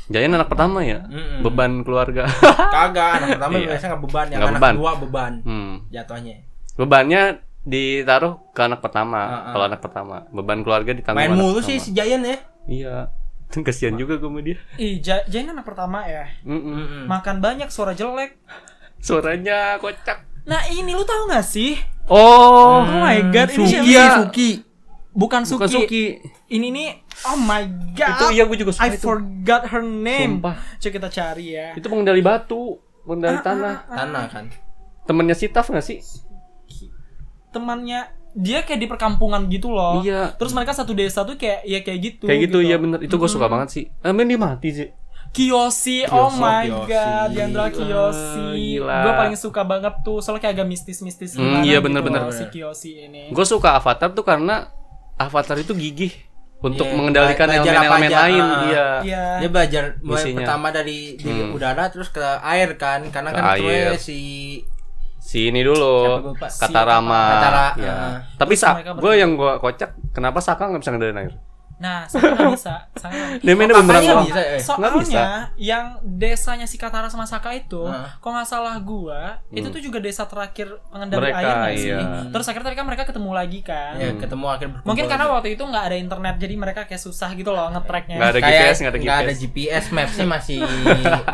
Speaker 3: Jayan anak pertama ya,
Speaker 2: Mm-mm.
Speaker 3: beban keluarga.
Speaker 2: Kagak anak pertama
Speaker 3: Iya.
Speaker 2: biasanya nggak beban, yang
Speaker 3: Nggak
Speaker 2: anak
Speaker 3: beban.
Speaker 2: kedua beban
Speaker 3: hmm.
Speaker 2: jatuhnya.
Speaker 3: Bebannya ditaruh ke anak pertama.
Speaker 2: Ah, ah.
Speaker 3: Kalau anak pertama, beban keluarga ditanggung
Speaker 2: Main
Speaker 3: anak
Speaker 2: mulu
Speaker 3: pertama.
Speaker 2: sih si Giant ya.
Speaker 3: Iya. Kasihan juga gue sama dia.
Speaker 1: Ih, Ja- Jain anak pertama ya.
Speaker 3: Mm-mm.
Speaker 1: Makan banyak suara jelek.
Speaker 3: Suaranya kocak.
Speaker 1: Nah, ini lu tahu nggak sih? Oh
Speaker 3: Oh,
Speaker 1: my god, ini siapa?
Speaker 2: ya,
Speaker 3: Iya.
Speaker 1: Suki. Bukan Suki.
Speaker 3: bukan Suki.
Speaker 1: Ini nih oh my god.
Speaker 3: Itu iya gue juga suka
Speaker 1: I
Speaker 3: itu.
Speaker 1: forgot her name.
Speaker 3: Sumpah.
Speaker 1: Coba kita cari ya.
Speaker 3: Itu pengendali batu,
Speaker 2: Ah,
Speaker 3: pengendali tanah.
Speaker 1: Ah.
Speaker 2: Tanah kan.
Speaker 3: Temennya si Taf gak sih?
Speaker 1: Temannya dia kayak di perkampungan gitu loh.
Speaker 3: Iya.
Speaker 1: Terus mereka satu desa tuh kayak ya kayak gitu.
Speaker 3: Kayak gitu, iya bener. Itu gue suka banget sih. Amin dia mati sih.
Speaker 1: Kiyoshi, oh
Speaker 2: Kiyoshi,
Speaker 1: my
Speaker 2: Kiyoshi.
Speaker 1: god, Diandra
Speaker 3: Ah,
Speaker 1: Kiyoshi.
Speaker 3: gila.
Speaker 1: Gue paling suka banget tuh, soalnya kayak agak mistis-mistis
Speaker 3: Hmm,
Speaker 1: gimana
Speaker 3: iya,
Speaker 1: gitu
Speaker 3: bener-bener.
Speaker 1: loh si Kiyoshi ini.
Speaker 3: Gue suka Avatar tuh karena Avatar itu gigih untuk
Speaker 2: Iya,
Speaker 3: mengendalikan
Speaker 2: belajar
Speaker 3: elemen-elemen
Speaker 2: apa aja,
Speaker 3: lain.
Speaker 2: ah.
Speaker 3: Iya.
Speaker 1: Iya.
Speaker 2: Dia belajar mulai
Speaker 3: Misinya.
Speaker 2: pertama dari di udara terus ke air kan karena
Speaker 3: Hmm. Ke
Speaker 2: kan
Speaker 3: air.
Speaker 2: itu si
Speaker 3: Si ini dulu,
Speaker 2: Siapa gua lupa?
Speaker 1: Si
Speaker 3: Katarama.
Speaker 2: Katara,
Speaker 3: Iya.
Speaker 2: ah.
Speaker 3: Tapi
Speaker 1: Terus
Speaker 3: sak,
Speaker 1: mereka
Speaker 3: gue yang gue kocak, kenapa Saka nggak bisa ngendaliin air?
Speaker 1: Nah, saya nggak bisa. Saya nggak bisa.
Speaker 3: Dia mainnya
Speaker 2: Oh,
Speaker 3: bumerang
Speaker 2: kakaknya
Speaker 3: doang.
Speaker 2: bisa ya?
Speaker 1: Soalnya
Speaker 3: Eh, Nggak bisa.
Speaker 1: yang desanya si Katara sama Saka itu,
Speaker 2: Nah.
Speaker 1: kalau nggak salah gua, itu tuh juga desa terakhir pengendali
Speaker 3: Hmm. Mereka,
Speaker 1: air nggak sih?
Speaker 3: iya.
Speaker 1: Terus akhirnya tapi kan mereka ketemu lagi kan.
Speaker 2: Ya, ketemu akhir berkumpul.
Speaker 1: Mungkin karena waktu itu nggak ada internet jadi mereka kayak susah gitu loh ngetracknya.
Speaker 3: Nggak ada
Speaker 2: Kayak
Speaker 3: GPS, nggak ada
Speaker 2: nggak
Speaker 3: GPS.
Speaker 2: GPS, mapsnya masih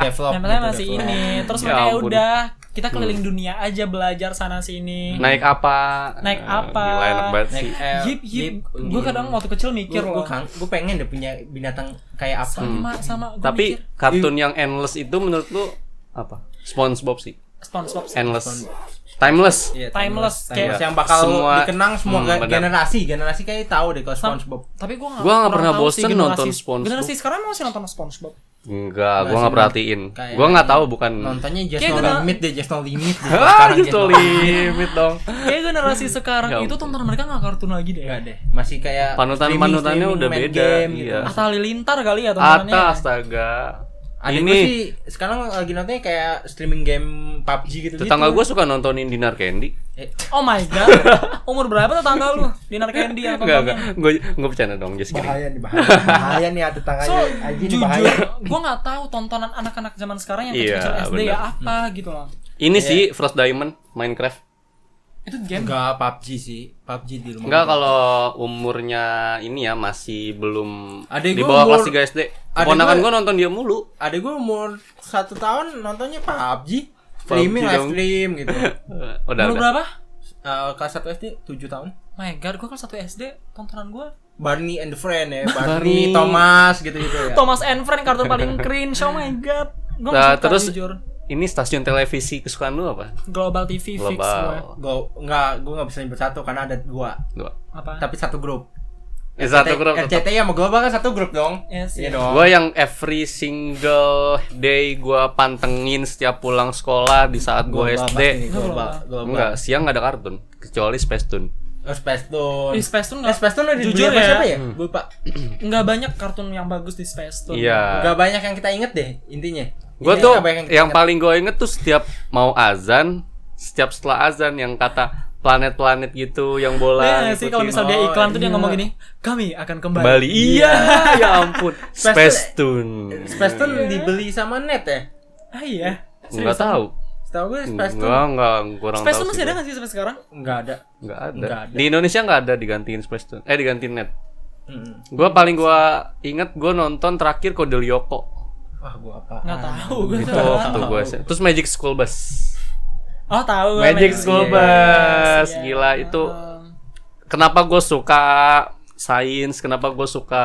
Speaker 2: develop.
Speaker 1: Yang penting
Speaker 2: gitu,
Speaker 1: masih
Speaker 2: develop.
Speaker 1: ini. Terus
Speaker 3: Ya
Speaker 1: mereka ya
Speaker 3: ampun. Hmm.
Speaker 1: udah kita keliling dunia aja belajar sana sini.
Speaker 3: Naik apa?
Speaker 1: Naik
Speaker 3: Eh,
Speaker 1: apa?
Speaker 3: Gila enak banget
Speaker 2: Naik
Speaker 3: sih.
Speaker 2: eh,
Speaker 1: Yip, yip. Gue kadang waktu kecil mikir
Speaker 2: gue
Speaker 1: loh.
Speaker 3: kan-
Speaker 2: gue pengen deh punya binatang kayak apa
Speaker 1: Sama sama gua
Speaker 3: Hmm. Tapi
Speaker 1: mikir,
Speaker 3: kartun yang endless itu menurut lu apa? SpongeBob sih.
Speaker 1: SpongeBob
Speaker 3: Eh,
Speaker 1: sih.
Speaker 3: Endless. Timeless.
Speaker 2: Iya,
Speaker 1: Timeless, kayak-
Speaker 2: yang bakal
Speaker 3: Semua-
Speaker 2: dikenang semua
Speaker 3: Hmm,
Speaker 2: ge-
Speaker 3: benar.
Speaker 2: generasi generasi kayak tahu deh kalau
Speaker 1: Sam-
Speaker 2: SpongeBob
Speaker 1: Tapi gue gak,
Speaker 3: Gua nggak pernah bosen nonton SpongeBob.
Speaker 1: Bener sih sekarang masih nonton SpongeBob.
Speaker 3: Enggak,
Speaker 2: Nggak
Speaker 3: gua
Speaker 2: sih,
Speaker 3: nggak perhatiin.
Speaker 2: kayak-
Speaker 3: Gua nggak tahu bukan.
Speaker 2: nontonnya just
Speaker 1: Kayak
Speaker 2: no
Speaker 1: gua-
Speaker 2: limit deh just no limit deh.
Speaker 3: Ah,
Speaker 2: Sekarang
Speaker 3: just
Speaker 2: No
Speaker 3: no limit dong.
Speaker 1: Kayak generasi sekarang
Speaker 3: Ya
Speaker 1: itu
Speaker 3: ampun.
Speaker 1: tonton mereka gak kartun lagi deh.
Speaker 2: Nggak Iya deh masih kayak
Speaker 3: Panutan-
Speaker 2: streaming-
Speaker 3: panutannya
Speaker 2: streaming
Speaker 3: udah
Speaker 2: main
Speaker 3: beda,
Speaker 2: gitu.
Speaker 3: iya.
Speaker 1: Atta Halilintar kali ya tontonannya.
Speaker 3: Atas astaga.
Speaker 2: kan? Adik
Speaker 3: ini
Speaker 2: gua sih sekarang lagi nontonnya kayak streaming game PUBG gitu gitu
Speaker 3: tetangga gua suka nontonin Dinar Candy.
Speaker 2: Eh,
Speaker 1: Oh my god. Umur berapa tetangga lu? Dinar Candy yang
Speaker 3: Enggak, enggak.
Speaker 1: tontonnya.
Speaker 3: Gua gua bercanda dong, just kidding.
Speaker 2: bahaya nih bahaya bahaya nih ya, ada
Speaker 1: So,
Speaker 2: tangannya Aji nih
Speaker 1: jujur,
Speaker 2: bahaya
Speaker 1: gue nggak tahu tontonan anak-anak zaman sekarang yang
Speaker 3: Iya, Hmm.
Speaker 1: kecil-kecil SD ya
Speaker 3: bener.
Speaker 1: apa gitu loh.
Speaker 3: Ini sih
Speaker 2: Iya.
Speaker 3: Frost Diamond Minecraft.
Speaker 1: Itu game.
Speaker 2: enggak PUBG sih PUBG di rumah
Speaker 3: Enggak kalau umurnya ini ya masih belum
Speaker 2: Adek
Speaker 3: di
Speaker 2: gua umur-
Speaker 3: bawah kelas 3 SD. Keponakan
Speaker 2: gua-
Speaker 3: gua nonton dia mulu.
Speaker 2: ada gue umur satu tahun nontonnya PUBG
Speaker 3: PUBG
Speaker 2: streaming live
Speaker 3: dong.
Speaker 2: stream gitu
Speaker 3: Eh, Udah
Speaker 1: Umur
Speaker 3: udah.
Speaker 1: berapa?
Speaker 2: Eh, kelas satu SD tujuh tahun
Speaker 1: My god, gue kalau satu SD tontonan gue
Speaker 2: Barney and the Friend ya
Speaker 3: Barney.
Speaker 2: Barney, Thomas gitu gitu ya
Speaker 1: Thomas and Friends kartun paling cringe. Oh my god. Gue
Speaker 3: Nah,
Speaker 1: nggak suka
Speaker 3: terus
Speaker 1: jujur.
Speaker 3: ini stasiun televisi kesukaan lu apa?
Speaker 1: Global TV fix gue.
Speaker 3: Global.
Speaker 2: gue nggak gue nggak bisa nyebut satu karena ada dua
Speaker 3: Dua.
Speaker 1: Apa?
Speaker 2: tapi satu grup
Speaker 3: Eh, satu grup tetap.
Speaker 2: RCTI sama global kan satu grup dong
Speaker 1: Yes,
Speaker 2: iya
Speaker 1: yes.
Speaker 2: dong
Speaker 3: Gue yang every single day gua pantengin setiap pulang sekolah di saat
Speaker 2: Global
Speaker 3: gue SD.
Speaker 2: pasti nih, global global
Speaker 3: Enggak, siang nggak ada kartun kecuali Space Tune.
Speaker 2: Oh, Space Tune
Speaker 1: Di Space Tune
Speaker 2: Eh, Space Tune udah dibeli
Speaker 1: Jujur
Speaker 2: apa
Speaker 1: ya.
Speaker 2: siapa ya gue lupa
Speaker 1: nggak banyak kartun yang bagus di Space Tune.
Speaker 3: Iya.
Speaker 2: nggak banyak yang kita inget deh intinya Intinya
Speaker 3: Gue tuh
Speaker 2: nggak banyak
Speaker 3: yang, paling gue inget tuh setiap mau azan, setiap setelah azan yang kata planet-planet gitu yang bola.
Speaker 1: Iya sih kalau misal
Speaker 3: Oh,
Speaker 1: dia iklan
Speaker 3: iya.
Speaker 1: tuh dia ngomong gini, kami akan kembali.
Speaker 3: Bali. Iya, ya ampun.
Speaker 2: Space
Speaker 3: Space Tune.
Speaker 2: Space Tune
Speaker 1: Iya.
Speaker 2: dibeli sama net ya
Speaker 1: Ah iya.
Speaker 3: Enggak tahu.
Speaker 2: setahu gue Space Tune
Speaker 3: Enggak, enggak kurang
Speaker 1: Space
Speaker 3: tahu.
Speaker 1: Tune
Speaker 3: sih
Speaker 1: masih ada
Speaker 3: gua.
Speaker 1: nggak sih sampai sekarang?
Speaker 2: nggak ada
Speaker 3: Nggak ada.
Speaker 2: Nggak ada.
Speaker 3: Di Indonesia nggak ada digantiin Space Tune. Eh digantiin net.
Speaker 2: Mm-mm.
Speaker 3: Gua paling gua inget gua nonton terakhir Kode Lyoko.
Speaker 2: wah gue apa
Speaker 1: Nggak tahu gue.
Speaker 3: Ah, Itu waktu gua. Terus Magic School Bus.
Speaker 1: Oh tahu. gua
Speaker 3: Magic School
Speaker 1: Iya,
Speaker 3: Bus.
Speaker 1: iya.
Speaker 3: Gila itu
Speaker 1: Um,
Speaker 3: kenapa gua suka sains, kenapa gua suka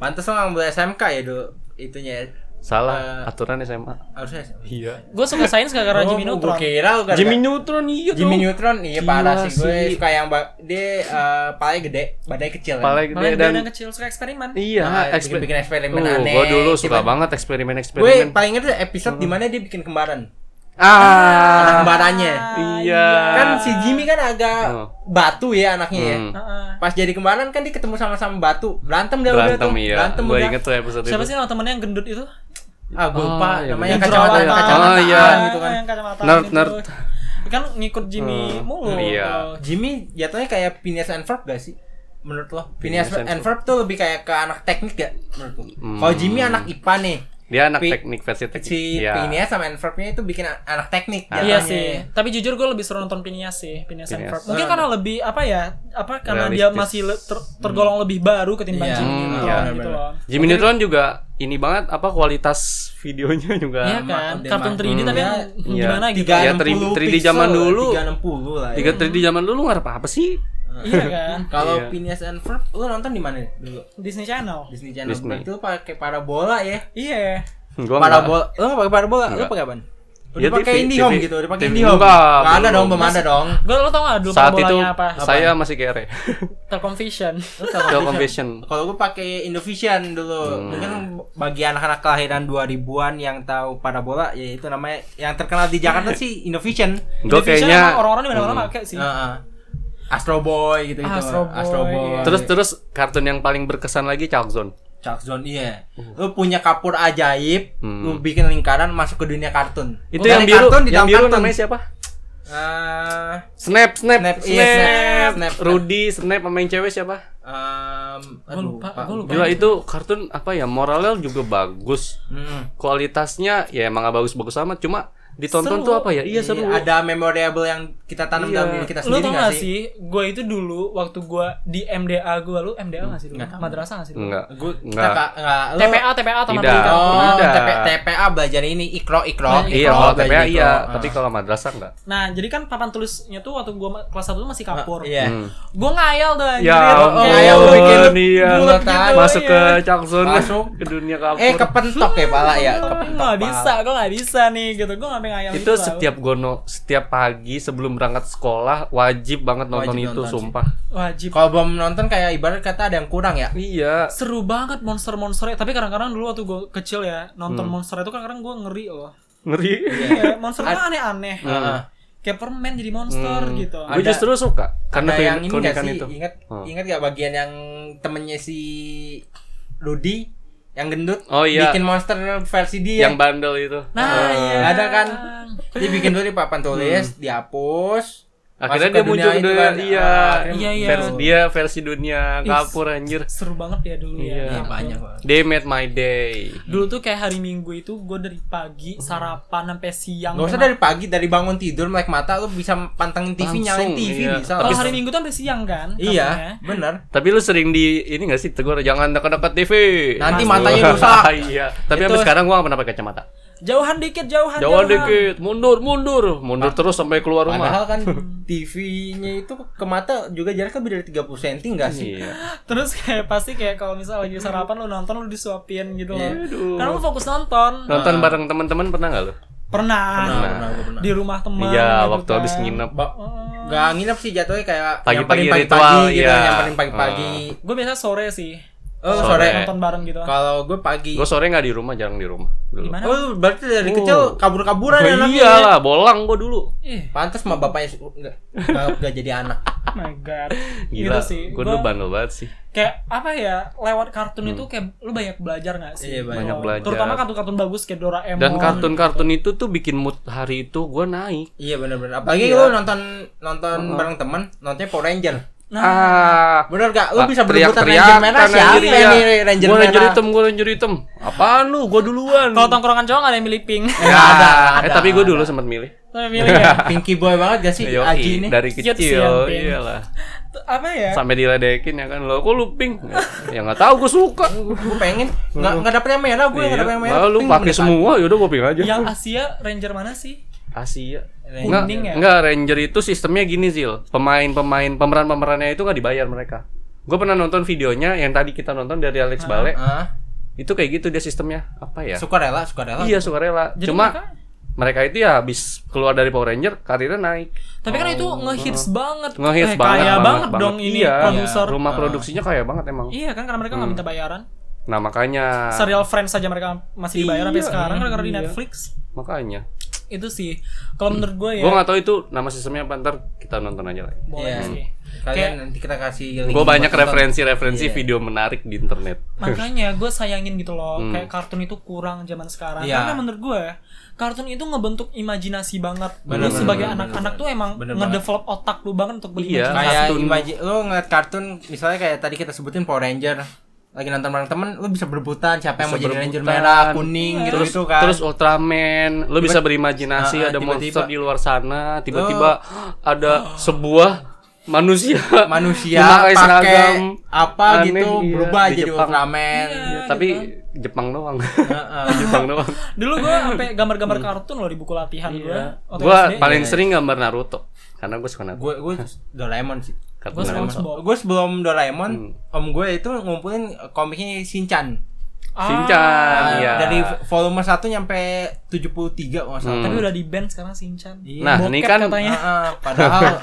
Speaker 2: pantas lo ngambil SMK ya dulu itunya ya.
Speaker 3: salah aturan SMA.
Speaker 2: harusnya iya
Speaker 1: Gue suka sains gak karena Jimmy
Speaker 2: gue
Speaker 1: Neutron.
Speaker 2: Oh, kira lu gara-gara-
Speaker 3: Oh, Jimmy Neutron iya tuh.
Speaker 2: Jimmy Neutron iya
Speaker 3: Gila
Speaker 2: parah sih gue
Speaker 3: sih.
Speaker 2: suka yang ba- dia eh, palanya gede badannya kecil kan?
Speaker 3: Paling
Speaker 1: Malah
Speaker 3: gede
Speaker 1: dan
Speaker 3: dan
Speaker 1: yang kecil suka eksperimen.
Speaker 3: Iya,
Speaker 2: Nah,
Speaker 3: eksper-
Speaker 2: bikin eksperimen
Speaker 3: Uh,
Speaker 2: aneh. gitu kan.
Speaker 3: Gua dulu suka
Speaker 2: Tiba-
Speaker 3: banget
Speaker 2: gue
Speaker 3: eksperimen-eksperimen.
Speaker 2: paling ngerti
Speaker 3: Hmm.
Speaker 2: episode dimana dia bikin kembaran anak
Speaker 3: Ah,
Speaker 2: kembarannya
Speaker 3: iya.
Speaker 2: kan si Jimmy kan agak
Speaker 3: Oh.
Speaker 2: batu ya anaknya ya
Speaker 3: Hmm.
Speaker 1: Heeh.
Speaker 2: pas jadi kembaran kan dia ketemu sama-sama batu berantem dia udah
Speaker 3: berantem
Speaker 2: tuh
Speaker 3: iya.
Speaker 2: berantem
Speaker 3: Gua
Speaker 2: udah
Speaker 3: inget tuh episode
Speaker 1: Siapa
Speaker 3: itu.
Speaker 1: sih nama temennya yang gendut itu?
Speaker 2: ah gue lupa
Speaker 3: Oh, iya,
Speaker 2: namanya
Speaker 3: iya.
Speaker 2: kacamata
Speaker 3: Jerawat.
Speaker 2: kacamata
Speaker 3: Oh, iya.
Speaker 2: gitu kan
Speaker 1: Yang kacamata.
Speaker 3: Nerd, nerd.
Speaker 1: Kan ngikut Jimmy
Speaker 3: Hmm,
Speaker 1: mulu.
Speaker 3: iya.
Speaker 1: kalau-
Speaker 2: Jimmy jatuhnya kayak Phineas and Ferb gak sih? Menurut lo? Phineas,
Speaker 3: Phineas and Hmm.
Speaker 2: and Ferb tuh lebih kayak ke anak teknik gak? Menurut lo? Kalau Jimmy anak IPA nih.
Speaker 3: Dia anak
Speaker 2: Pi-
Speaker 3: teknik versi teknik.
Speaker 2: Si ya.
Speaker 3: Iya.
Speaker 2: Phineas sama and Ferbnya itu bikin a- anak teknik.
Speaker 1: Iya
Speaker 2: jatuhnya.
Speaker 1: sih, tapi jujur gue lebih seru nonton Phineas sih, Phineas and
Speaker 3: Phineas.
Speaker 1: Ferb. Mungkin karena lebih apa ya, apa karena dia
Speaker 3: Realistis.
Speaker 1: masih le- ter- tergolong lebih baru ketimbang
Speaker 2: Iya.
Speaker 1: Jimmy
Speaker 2: Hmm,
Speaker 1: Neutron
Speaker 3: iya.
Speaker 1: gitu loh.
Speaker 3: Jimmy Neutron juga ini banget apa kualitas videonya juga
Speaker 1: Iya
Speaker 2: Sama
Speaker 1: kan,
Speaker 2: Denmark.
Speaker 1: kartun 3D tapi yang
Speaker 3: Iya.
Speaker 1: gimana gitu.
Speaker 3: Iya,
Speaker 2: 360
Speaker 3: 3D
Speaker 2: pixel
Speaker 3: zaman
Speaker 2: lah,
Speaker 3: dulu.
Speaker 2: 360 lah ya.
Speaker 3: tiga 3D zaman dulu ngarep apa sih?
Speaker 1: Iya kan,
Speaker 2: Kalau
Speaker 3: Iya.
Speaker 2: Phineas and Ferb E lu nonton di mana dulu?
Speaker 1: Disney Channel.
Speaker 2: Disney Channel.
Speaker 3: Disney.
Speaker 2: Berarti lu pakai parabola ya.
Speaker 1: Iya.
Speaker 3: Gua
Speaker 2: Parabola. Lu enggak pakai parabola, lu
Speaker 3: Enggak.
Speaker 2: pakai apaan?
Speaker 3: Ya,
Speaker 2: Udah pakai
Speaker 3: TV,
Speaker 2: IndiHome
Speaker 3: TV.
Speaker 2: gitu, udah pakai
Speaker 3: TV.
Speaker 2: IndiHome.
Speaker 3: Enggak,
Speaker 2: Enggak ada
Speaker 3: belum.
Speaker 2: dong, belum ada dong.
Speaker 1: Gue lo tau gak dulu
Speaker 3: saat itu
Speaker 1: parabolanya apa?
Speaker 3: saya masih E. kere.
Speaker 1: Telkom Vision.
Speaker 2: Lu sama
Speaker 3: Telkom
Speaker 2: Vision.
Speaker 3: Vision.
Speaker 2: Kalau gue pakai Indovision dulu.
Speaker 3: Hmm.
Speaker 2: Mungkin bagi anak-anak kelahiran 2000-an yang tahu parabola ya itu namanya yang terkenal di Jakarta sih Indovision.
Speaker 3: Gue
Speaker 1: Vision emang
Speaker 3: kayaknya
Speaker 1: orang-orang di mana-mana pakai sih.
Speaker 2: Heeh. Ah, Astro Boy gitu gitu.
Speaker 1: Astro Boy, iya.
Speaker 3: terus terus kartun yang paling berkesan lagi Chuck Zone.
Speaker 2: Chuck Zone iya.
Speaker 1: Uh.
Speaker 2: Lu punya kapur ajaib, lu bikin lingkaran masuk ke dunia kartun.
Speaker 3: Hmm. Itu
Speaker 2: Bukan
Speaker 3: yang biru,
Speaker 2: kartun, di
Speaker 3: yang
Speaker 2: dalam
Speaker 3: biru
Speaker 2: kartun. Ah,
Speaker 3: namanya siapa?
Speaker 2: Eh,
Speaker 3: Snap, snap,
Speaker 2: Snap,
Speaker 3: snap,
Speaker 2: iya, snap, snap.
Speaker 3: Rudy, snap sama yang cewek siapa?
Speaker 2: eh,
Speaker 1: Gua lupa, gua lupa.
Speaker 3: Gila itu kartun apa ya moralnya juga bagus.
Speaker 2: Hmm.
Speaker 3: Kualitasnya ya emang gak bagus-bagus amat cuma
Speaker 1: Seru.
Speaker 3: ditonton tuh apa ya? Iya seru.
Speaker 2: Ada memorable yang kita tanam
Speaker 3: Iya.
Speaker 2: dalam diri
Speaker 1: Lu
Speaker 2: kita sendiri
Speaker 1: tau
Speaker 2: nggak
Speaker 1: gak
Speaker 2: sih?
Speaker 1: sih, gue itu dulu waktu gue di MDA gue, lu MDA gak sih dulu? Madrasah gak sih dulu?
Speaker 3: Enggak.
Speaker 2: Gua kita
Speaker 3: Enggak.
Speaker 2: nggak nggak- lu-
Speaker 1: TPA, TPA Taman
Speaker 3: Tidak.
Speaker 1: Pendidikan.
Speaker 2: Oh,
Speaker 3: Tidak.
Speaker 2: TP- TPA belajar ini ikro ikro.
Speaker 1: Nah,
Speaker 3: Iya, kalau TPA
Speaker 2: belajar
Speaker 3: iya,
Speaker 2: ikro.
Speaker 3: tapi kalau madrasah enggak.
Speaker 1: Nah, jadi kan papan tulisnya tuh waktu gue kelas 1 tuh masih
Speaker 2: Ah,
Speaker 1: kapur.
Speaker 2: Iya.
Speaker 3: Hmm.
Speaker 1: Gue ngayal tuh anjir.
Speaker 3: Ya
Speaker 1: Kayak
Speaker 3: ampun,
Speaker 2: oh, Kayak lu bikin
Speaker 3: iya.
Speaker 2: bulat gitu,
Speaker 3: Masuk
Speaker 1: iya.
Speaker 3: ke Changsun
Speaker 2: Masuk.
Speaker 3: ke dunia kapur.
Speaker 2: Eh kepentok ya pala ya, kepentok.
Speaker 1: Gue gak
Speaker 2: pala.
Speaker 1: bisa, gue gak bisa nih gitu. Gue gak pengen ngayal
Speaker 3: itu
Speaker 1: tau.
Speaker 3: setiap gono setiap pagi sebelum berangkat sekolah wajib banget nonton
Speaker 2: Wajib
Speaker 3: itu
Speaker 2: nonton sih.
Speaker 3: sumpah
Speaker 1: Wajib.
Speaker 2: Kalau belum nonton kayak ibarat kata ada yang kurang ya.
Speaker 3: iya
Speaker 1: Seru banget monster-monsternya. Tapi kadang-kadang dulu waktu gue kecil ya,
Speaker 3: Hmm.
Speaker 1: nonton monster itu kadang-kadang gue ngeri loh.
Speaker 3: ngeri
Speaker 1: Iya, monsternya aneh-aneh.
Speaker 2: Heeh.
Speaker 1: Kayak permen jadi monster gitu.
Speaker 3: gue
Speaker 2: Ada-
Speaker 3: justru suka karena
Speaker 2: Ada
Speaker 3: keun-
Speaker 2: yang ini nggak
Speaker 3: keunikan
Speaker 2: sih?
Speaker 3: itu
Speaker 2: Ingat
Speaker 3: Oh.
Speaker 2: ingat gak bagian yang temennya si Rudi yang gendut
Speaker 3: Oh, iya.
Speaker 2: bikin monster versi dia.
Speaker 3: yang Ah. bandel itu
Speaker 1: Nah, iya.
Speaker 2: ada kan dia bikin dulu di papan tulis dihapus
Speaker 3: Hmm. akhirnya
Speaker 2: masuk
Speaker 3: dia
Speaker 2: ke
Speaker 3: muncul
Speaker 2: dunia
Speaker 3: ke
Speaker 2: itu
Speaker 3: dunia
Speaker 2: kan.
Speaker 3: iya
Speaker 2: Ah,
Speaker 1: Iya, iya.
Speaker 3: versi dia versi dunia kapur anjir
Speaker 1: Seru banget ya dulu
Speaker 3: Iya.
Speaker 1: ya.
Speaker 2: akhirnya banyak Pak.
Speaker 3: they made my day
Speaker 1: Dulu tuh kayak hari Minggu itu gue dari pagi sarapan sampai siang.
Speaker 2: Gak Hmm. usah
Speaker 1: Sampai-
Speaker 2: dari pagi dari bangun tidur melek mata lu bisa pantengin TV
Speaker 3: Langsung,
Speaker 2: nyalain TV
Speaker 3: iya.
Speaker 2: bisa.
Speaker 1: Kalau
Speaker 2: Habis-
Speaker 1: hari Minggu tuh sampai siang kan?
Speaker 2: iya,
Speaker 1: katanya.
Speaker 2: bener.
Speaker 3: tapi lu sering di ini gak sih tegur jangan dekat-dekat TV
Speaker 2: Nanti
Speaker 3: Aduh.
Speaker 2: matanya rusak.
Speaker 3: iya
Speaker 2: Itu-
Speaker 3: tapi sampai sekarang gua gak pernah pakai kacamata
Speaker 1: Jauhan dikit, jauhan.
Speaker 3: jauh dikit mundur mundur mundur terus sampai keluar rumah
Speaker 2: Ah. Padahal kan TV-nya itu ke mata juga jaraknya beda dari 30 cm enggak sih?
Speaker 3: iya
Speaker 1: Terus kayak pasti kayak kalau misal lagi sarapan lu nonton lu disuapin gitu loh.
Speaker 3: Iya. Aduh.
Speaker 1: Karena lu fokus nonton.
Speaker 3: Nonton
Speaker 2: Ah.
Speaker 3: bareng teman-teman pernah nggak lo?
Speaker 1: Pernah,
Speaker 3: Nah.
Speaker 2: Pernah, gua pernah.
Speaker 1: di rumah teman.
Speaker 3: Iya,
Speaker 1: gitu
Speaker 3: waktu
Speaker 1: kan.
Speaker 3: habis nginep.
Speaker 2: Ba- Gak nginep sih jatuhnya kayak
Speaker 3: Pagi-pagi
Speaker 2: nyamperin
Speaker 3: ritual,
Speaker 2: gitu,
Speaker 3: iya.
Speaker 2: nyamperin pagi-pagi.
Speaker 1: Gue biasa sore sih
Speaker 2: Oh, sore.
Speaker 3: Sore.
Speaker 1: nonton bareng gitu.
Speaker 2: Kalau gue pagi.
Speaker 3: Gue sore nggak di rumah, jarang di rumah. Dulu.
Speaker 1: Gimana?
Speaker 2: Oh, berarti dari
Speaker 3: Oh.
Speaker 2: kecil kabur-kaburan ya
Speaker 3: Oh,
Speaker 2: anaknya.
Speaker 3: iyalah, bolang gue dulu.
Speaker 1: Ih, oh
Speaker 2: Pantes mah bapaknya su- nggak nggak jadi anak.
Speaker 1: my god.
Speaker 3: Gila,
Speaker 2: Iya
Speaker 1: gitu sih.
Speaker 3: gue dulu bandel banget sih.
Speaker 1: kayak apa ya lewat kartun itu kayak lu banyak belajar nggak sih?
Speaker 2: Iya, banyak.
Speaker 3: Hmm. Banyak belajar.
Speaker 1: Terutama kartun-kartun bagus kayak Doraemon.
Speaker 3: Dan kartun-kartun itu tuh bikin mood hari itu gue naik.
Speaker 2: Iya benar-benar. Apalagi lu nonton nonton
Speaker 3: Oh.
Speaker 2: bareng temen, nontonnya Power Ranger.
Speaker 1: Nah,
Speaker 3: ah,
Speaker 2: Bener gak? Lu bisa berebutan Ranger
Speaker 3: teriak-teriak, kan, ya?
Speaker 2: merah siapa nih Ranger
Speaker 3: Gue ranger
Speaker 2: merah?
Speaker 3: hitam, gue ranger hitam. Apaan lu? Gue duluan.
Speaker 1: Kalau tongkrongan cowok nggak ada yang milih pink.
Speaker 3: Ya, ada, eh, tapi gue dulu sempat milih.
Speaker 1: Lu yang milih ya.
Speaker 2: Pinky boy banget gak sih
Speaker 3: Yoi,
Speaker 2: Aji ini? Iya
Speaker 3: dari
Speaker 1: Cute sih yang
Speaker 3: kecil,
Speaker 1: pink.
Speaker 3: iyalah.
Speaker 1: Tuh, apa ya?
Speaker 3: Sampai diledekin ya kan lo, kok lu pink? ya nggak tahu gue suka.
Speaker 2: Gue pengen nggak nggak dapet yang merah gue nggak dapet yang merah.
Speaker 3: Malah lu
Speaker 2: Pink
Speaker 3: Iya. pakai
Speaker 2: bener.
Speaker 3: semua, yaudah gue pink aja.
Speaker 1: Yang Asia Ranger mana sih?
Speaker 3: Asia.
Speaker 2: Ranger.
Speaker 3: Enggak,
Speaker 1: Kuning ya?
Speaker 3: enggak Ranger itu sistemnya gini Zil. Pemain-pemain pemeran-pemerannya itu nggak dibayar mereka. Gue pernah nonton videonya yang tadi kita nonton dari Alex Bale.
Speaker 2: Ah,
Speaker 3: Itu kayak gitu dia sistemnya. Apa ya?
Speaker 2: suka rela, suka rela.
Speaker 3: Iya, sukarela.
Speaker 1: Jadi
Speaker 3: Cuma
Speaker 1: mereka-
Speaker 3: mereka itu ya habis keluar dari Power Ranger karirnya naik.
Speaker 1: Tapi kan itu ngehits banget.
Speaker 3: Ngehits
Speaker 1: Eh,
Speaker 3: banget,
Speaker 1: Kaya
Speaker 3: banget,
Speaker 1: banget,
Speaker 3: banget.
Speaker 1: dong ini
Speaker 3: Iya. Hmm.
Speaker 1: produser.
Speaker 3: Rumah produksinya kaya banget emang.
Speaker 1: Iya kan karena mereka nggak minta bayaran.
Speaker 3: Nah, makanya
Speaker 1: Serial Friends saja mereka masih dibayar sampai
Speaker 3: Iya,
Speaker 1: sekarang karena di
Speaker 3: iya.
Speaker 1: Netflix.
Speaker 3: makanya.
Speaker 1: Itu sih. Kalau menurut gue ya.
Speaker 3: Gue nggak tahu itu nama sistemnya apa ntar kita nonton aja lagi.
Speaker 1: boleh
Speaker 2: Iya.
Speaker 1: sih.
Speaker 2: Kalian nanti kita kasih link
Speaker 3: Gue
Speaker 2: buat
Speaker 3: banyak
Speaker 2: nonton. Iya.
Speaker 3: referensi-referensi video menarik di internet.
Speaker 1: Makanya gue sayangin gitu loh,
Speaker 3: Hmm.
Speaker 1: kayak kartun itu kurang zaman sekarang.
Speaker 2: Iya.
Speaker 1: Karena menurut gue, kartun itu ngebentuk imajinasi banget. lu
Speaker 2: Bener, bener,
Speaker 1: sebagai
Speaker 2: bener,
Speaker 1: anak-anak
Speaker 2: bener.
Speaker 1: tuh emang
Speaker 2: Bener
Speaker 1: ngedevelop otak lu banget untuk
Speaker 3: Iya.
Speaker 1: berimajinasi.
Speaker 2: Kayak
Speaker 3: Kartun.
Speaker 2: imaji- lu ngeliat kartun misalnya kayak tadi kita sebutin Power Ranger lagi nonton bareng temen lu bisa berebutan siapa yang mau jadi Ranger
Speaker 3: berebutan. iya.
Speaker 2: merah kuning gitu
Speaker 3: terus
Speaker 2: gitu kan
Speaker 3: terus Ultraman lu bisa berimajinasi
Speaker 2: Ah, ah,
Speaker 3: ada
Speaker 2: tiba-tiba. Oh.
Speaker 3: monster di luar sana tiba-tiba ada sebuah manusia
Speaker 2: manusia
Speaker 3: memakai
Speaker 2: pakai
Speaker 3: seragam
Speaker 2: apa
Speaker 3: aneh,
Speaker 2: gitu
Speaker 3: iya,
Speaker 2: berubah
Speaker 3: di
Speaker 2: jadi
Speaker 3: Jepang.
Speaker 2: Ultraman gitu. Ah,
Speaker 3: Iya, tapi Jepang doang
Speaker 2: Heeh.
Speaker 3: Jepang doang
Speaker 1: Dulu gue sampai gambar-gambar
Speaker 3: Hmm.
Speaker 1: kartun loh di buku latihan gue.
Speaker 3: gue paling sering gambar Naruto karena gue suka Naruto
Speaker 2: gue gue Doraemon sih
Speaker 3: Kartun
Speaker 1: gue
Speaker 3: Naruto.
Speaker 1: SpongeBob.
Speaker 2: gue sebelum Doraemon
Speaker 3: Hmm.
Speaker 2: om gue itu ngumpulin komiknya Shinchan
Speaker 1: Ah,
Speaker 3: Shinchan iya
Speaker 2: dari volume 1 nyampe 73 kalau nggak salah
Speaker 1: Tapi udah di ban sekarang Shinchan.
Speaker 3: nah ini
Speaker 1: Bokep
Speaker 3: kan
Speaker 1: katanya.
Speaker 2: Heeh, padahal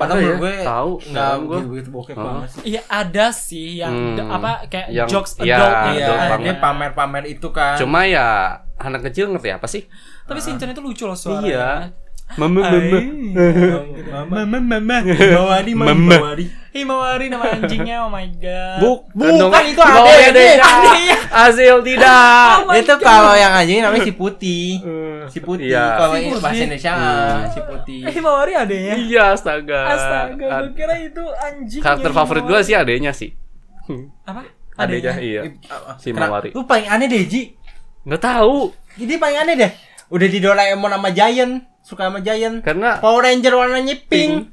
Speaker 2: padahal
Speaker 3: Apa ya?
Speaker 2: menurut gue
Speaker 3: Tahu,
Speaker 2: nggak
Speaker 3: tahu gue.
Speaker 2: begitu bokep banget sih
Speaker 1: Iya ada sih yang
Speaker 3: Hmm.
Speaker 1: apa kayak
Speaker 3: Yang-
Speaker 1: jokes
Speaker 3: iya,
Speaker 1: adult
Speaker 2: Iya,
Speaker 1: gitu.
Speaker 3: Adult
Speaker 1: kan.
Speaker 3: banget.
Speaker 2: dia pamer-pamer itu kan.
Speaker 3: cuma ya anak kecil ngerti apa sih
Speaker 1: Tapi Shinchan itu lucu loh suaranya.
Speaker 3: iya mama mama
Speaker 2: Mama, mama, mama. Himawari, mama,
Speaker 3: Mama.
Speaker 2: Himawari.
Speaker 1: Himawari nama anjingnya, oh my god.
Speaker 3: Buk,
Speaker 2: bukan, Kan itu
Speaker 3: Bawa
Speaker 2: adek,
Speaker 3: adek.
Speaker 1: adeknya.
Speaker 3: Azil tidak.
Speaker 1: Oh my
Speaker 2: Itu kalau yang anjing namanya si Putih. Si Putih.
Speaker 3: Iya. Hmm.
Speaker 2: Kalau
Speaker 1: Si
Speaker 2: ini
Speaker 1: Putih.
Speaker 2: bahasa Indonesia ah, si Putih.
Speaker 1: Himawari adanya.
Speaker 3: Iya, astaga.
Speaker 1: Astaga,
Speaker 3: Ad-
Speaker 1: gue kira itu anjing.
Speaker 3: Karakter favorit gue sih adanya sih.
Speaker 1: apa
Speaker 3: adanya iya
Speaker 2: Ib- ah, ah,
Speaker 3: si
Speaker 2: kenapa?
Speaker 3: Mawari
Speaker 2: Lu paling aneh deh, Ji.
Speaker 3: nggak tahu
Speaker 2: Jadi paling aneh deh. Udah di Doraemon sama Giant, suka sama Giant.
Speaker 3: karena
Speaker 2: Power Ranger warnanya pink.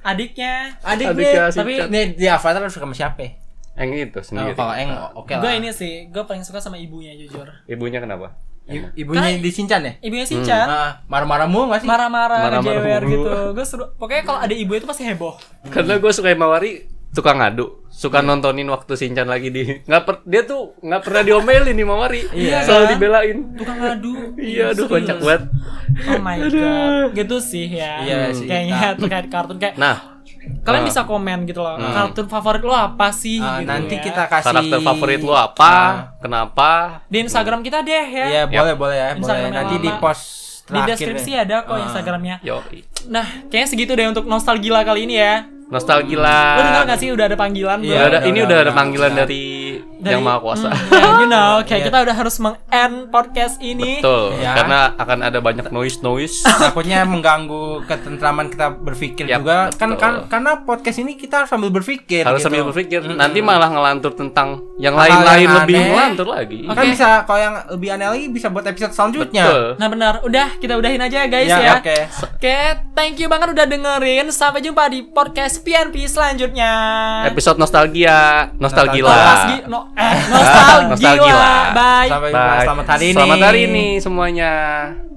Speaker 1: adiknya
Speaker 3: Adiknya
Speaker 2: Adiknya,
Speaker 3: si
Speaker 2: tapi
Speaker 3: Cat.
Speaker 2: nih di Avatar lu suka sama siapa?
Speaker 3: yang itu
Speaker 2: Oh,
Speaker 3: sendiri
Speaker 2: kalau Eng oke lah.
Speaker 1: gue ini sih gue paling suka sama ibunya jujur
Speaker 3: ibunya kenapa
Speaker 2: I- ibunya
Speaker 1: Kan-
Speaker 2: di Shinchan ya?
Speaker 1: ibunya sih Chan
Speaker 2: Ah, marah-marah mulu gak sih?
Speaker 1: marah-marah
Speaker 3: Hmm. Marah-marah
Speaker 1: ngejewer
Speaker 3: mulu.
Speaker 1: gitu gue seru pokoknya kalau ada ibu itu pasti heboh
Speaker 3: Karena gue suka Mawari suka ngadu, suka nontonin waktu Shinchan lagi di nggak per- dia tuh nggak pernah diomelin nih Mawari,
Speaker 1: Iya,
Speaker 3: selalu
Speaker 1: kan?
Speaker 3: dibelain.
Speaker 1: tukang ngadu
Speaker 3: Iya, aduh
Speaker 1: serius.
Speaker 3: kocak banget.
Speaker 1: oh my god gitu sih ya
Speaker 2: Iya sih. eh.
Speaker 1: kayaknya terkait kartun kayak
Speaker 3: Nah,
Speaker 1: kalian
Speaker 3: Nah.
Speaker 1: bisa komen gitu loh kartun favorit lo apa sih
Speaker 2: Hmm. Ah,
Speaker 1: gitu
Speaker 2: nanti
Speaker 1: ya.
Speaker 2: kita kasih Nah.
Speaker 3: karakter favorit lo apa? Kenapa?
Speaker 1: di Instagram kita deh ya
Speaker 2: Iya, boleh boleh ya, boleh.
Speaker 1: Instagram yang
Speaker 2: Nanti di
Speaker 1: lama.
Speaker 2: post
Speaker 1: di
Speaker 2: terakhir ya.
Speaker 1: deskripsi
Speaker 2: deh. Ah.
Speaker 1: ada kok Instagramnya
Speaker 3: Yo,
Speaker 1: nah kayaknya segitu deh untuk nostalgia kali ini ya
Speaker 3: nostalgila.
Speaker 1: lo dengar gak sih udah ada panggilan
Speaker 2: Ah. Iya,
Speaker 3: Udah
Speaker 1: belum?
Speaker 2: Hmm.
Speaker 3: ada,
Speaker 2: Udah,
Speaker 3: ini
Speaker 2: udah,
Speaker 3: udah ada
Speaker 2: udah, Hmm.
Speaker 3: panggilan
Speaker 2: udah.
Speaker 3: dari, yang
Speaker 1: Dari-
Speaker 3: maha kuasa.
Speaker 1: Yeah, you know kayak
Speaker 2: Iya.
Speaker 1: kita udah harus meng-end podcast ini
Speaker 3: Betul,
Speaker 2: Iya. Ah,
Speaker 3: karena akan ada banyak noise noise.
Speaker 2: Takutnya mengganggu ketentraman kita berpikir
Speaker 3: Yap,
Speaker 2: juga. Kan,
Speaker 3: betul.
Speaker 2: kan karena podcast ini kita harus sambil berpikir.
Speaker 3: Harus
Speaker 2: gitu.
Speaker 3: sambil berpikir, nanti malah ngelantur tentang yang
Speaker 2: Hal-hal
Speaker 3: lain-lain
Speaker 2: yang
Speaker 3: lebih
Speaker 2: aneh.
Speaker 3: ngelantur lagi.
Speaker 2: Kan bisa kalau yang lebih aneh lagi bisa buat episode selanjutnya.
Speaker 3: Betul.
Speaker 1: nah benar udah kita udahin aja ya guys
Speaker 2: Ya,
Speaker 1: ya
Speaker 2: oke.
Speaker 1: Oke, thank you banget udah dengerin. Sampai jumpa di podcast PNP selanjutnya.
Speaker 2: Nah.
Speaker 3: Episode nostalgia, nostalgila.
Speaker 1: Nostalgi- no, eh, nostalgia.
Speaker 3: Nostalgia.
Speaker 1: Bye.
Speaker 2: Sampai jumpa.
Speaker 3: Bye.
Speaker 2: Selamat hari ini.
Speaker 3: Selamat hari ini semuanya.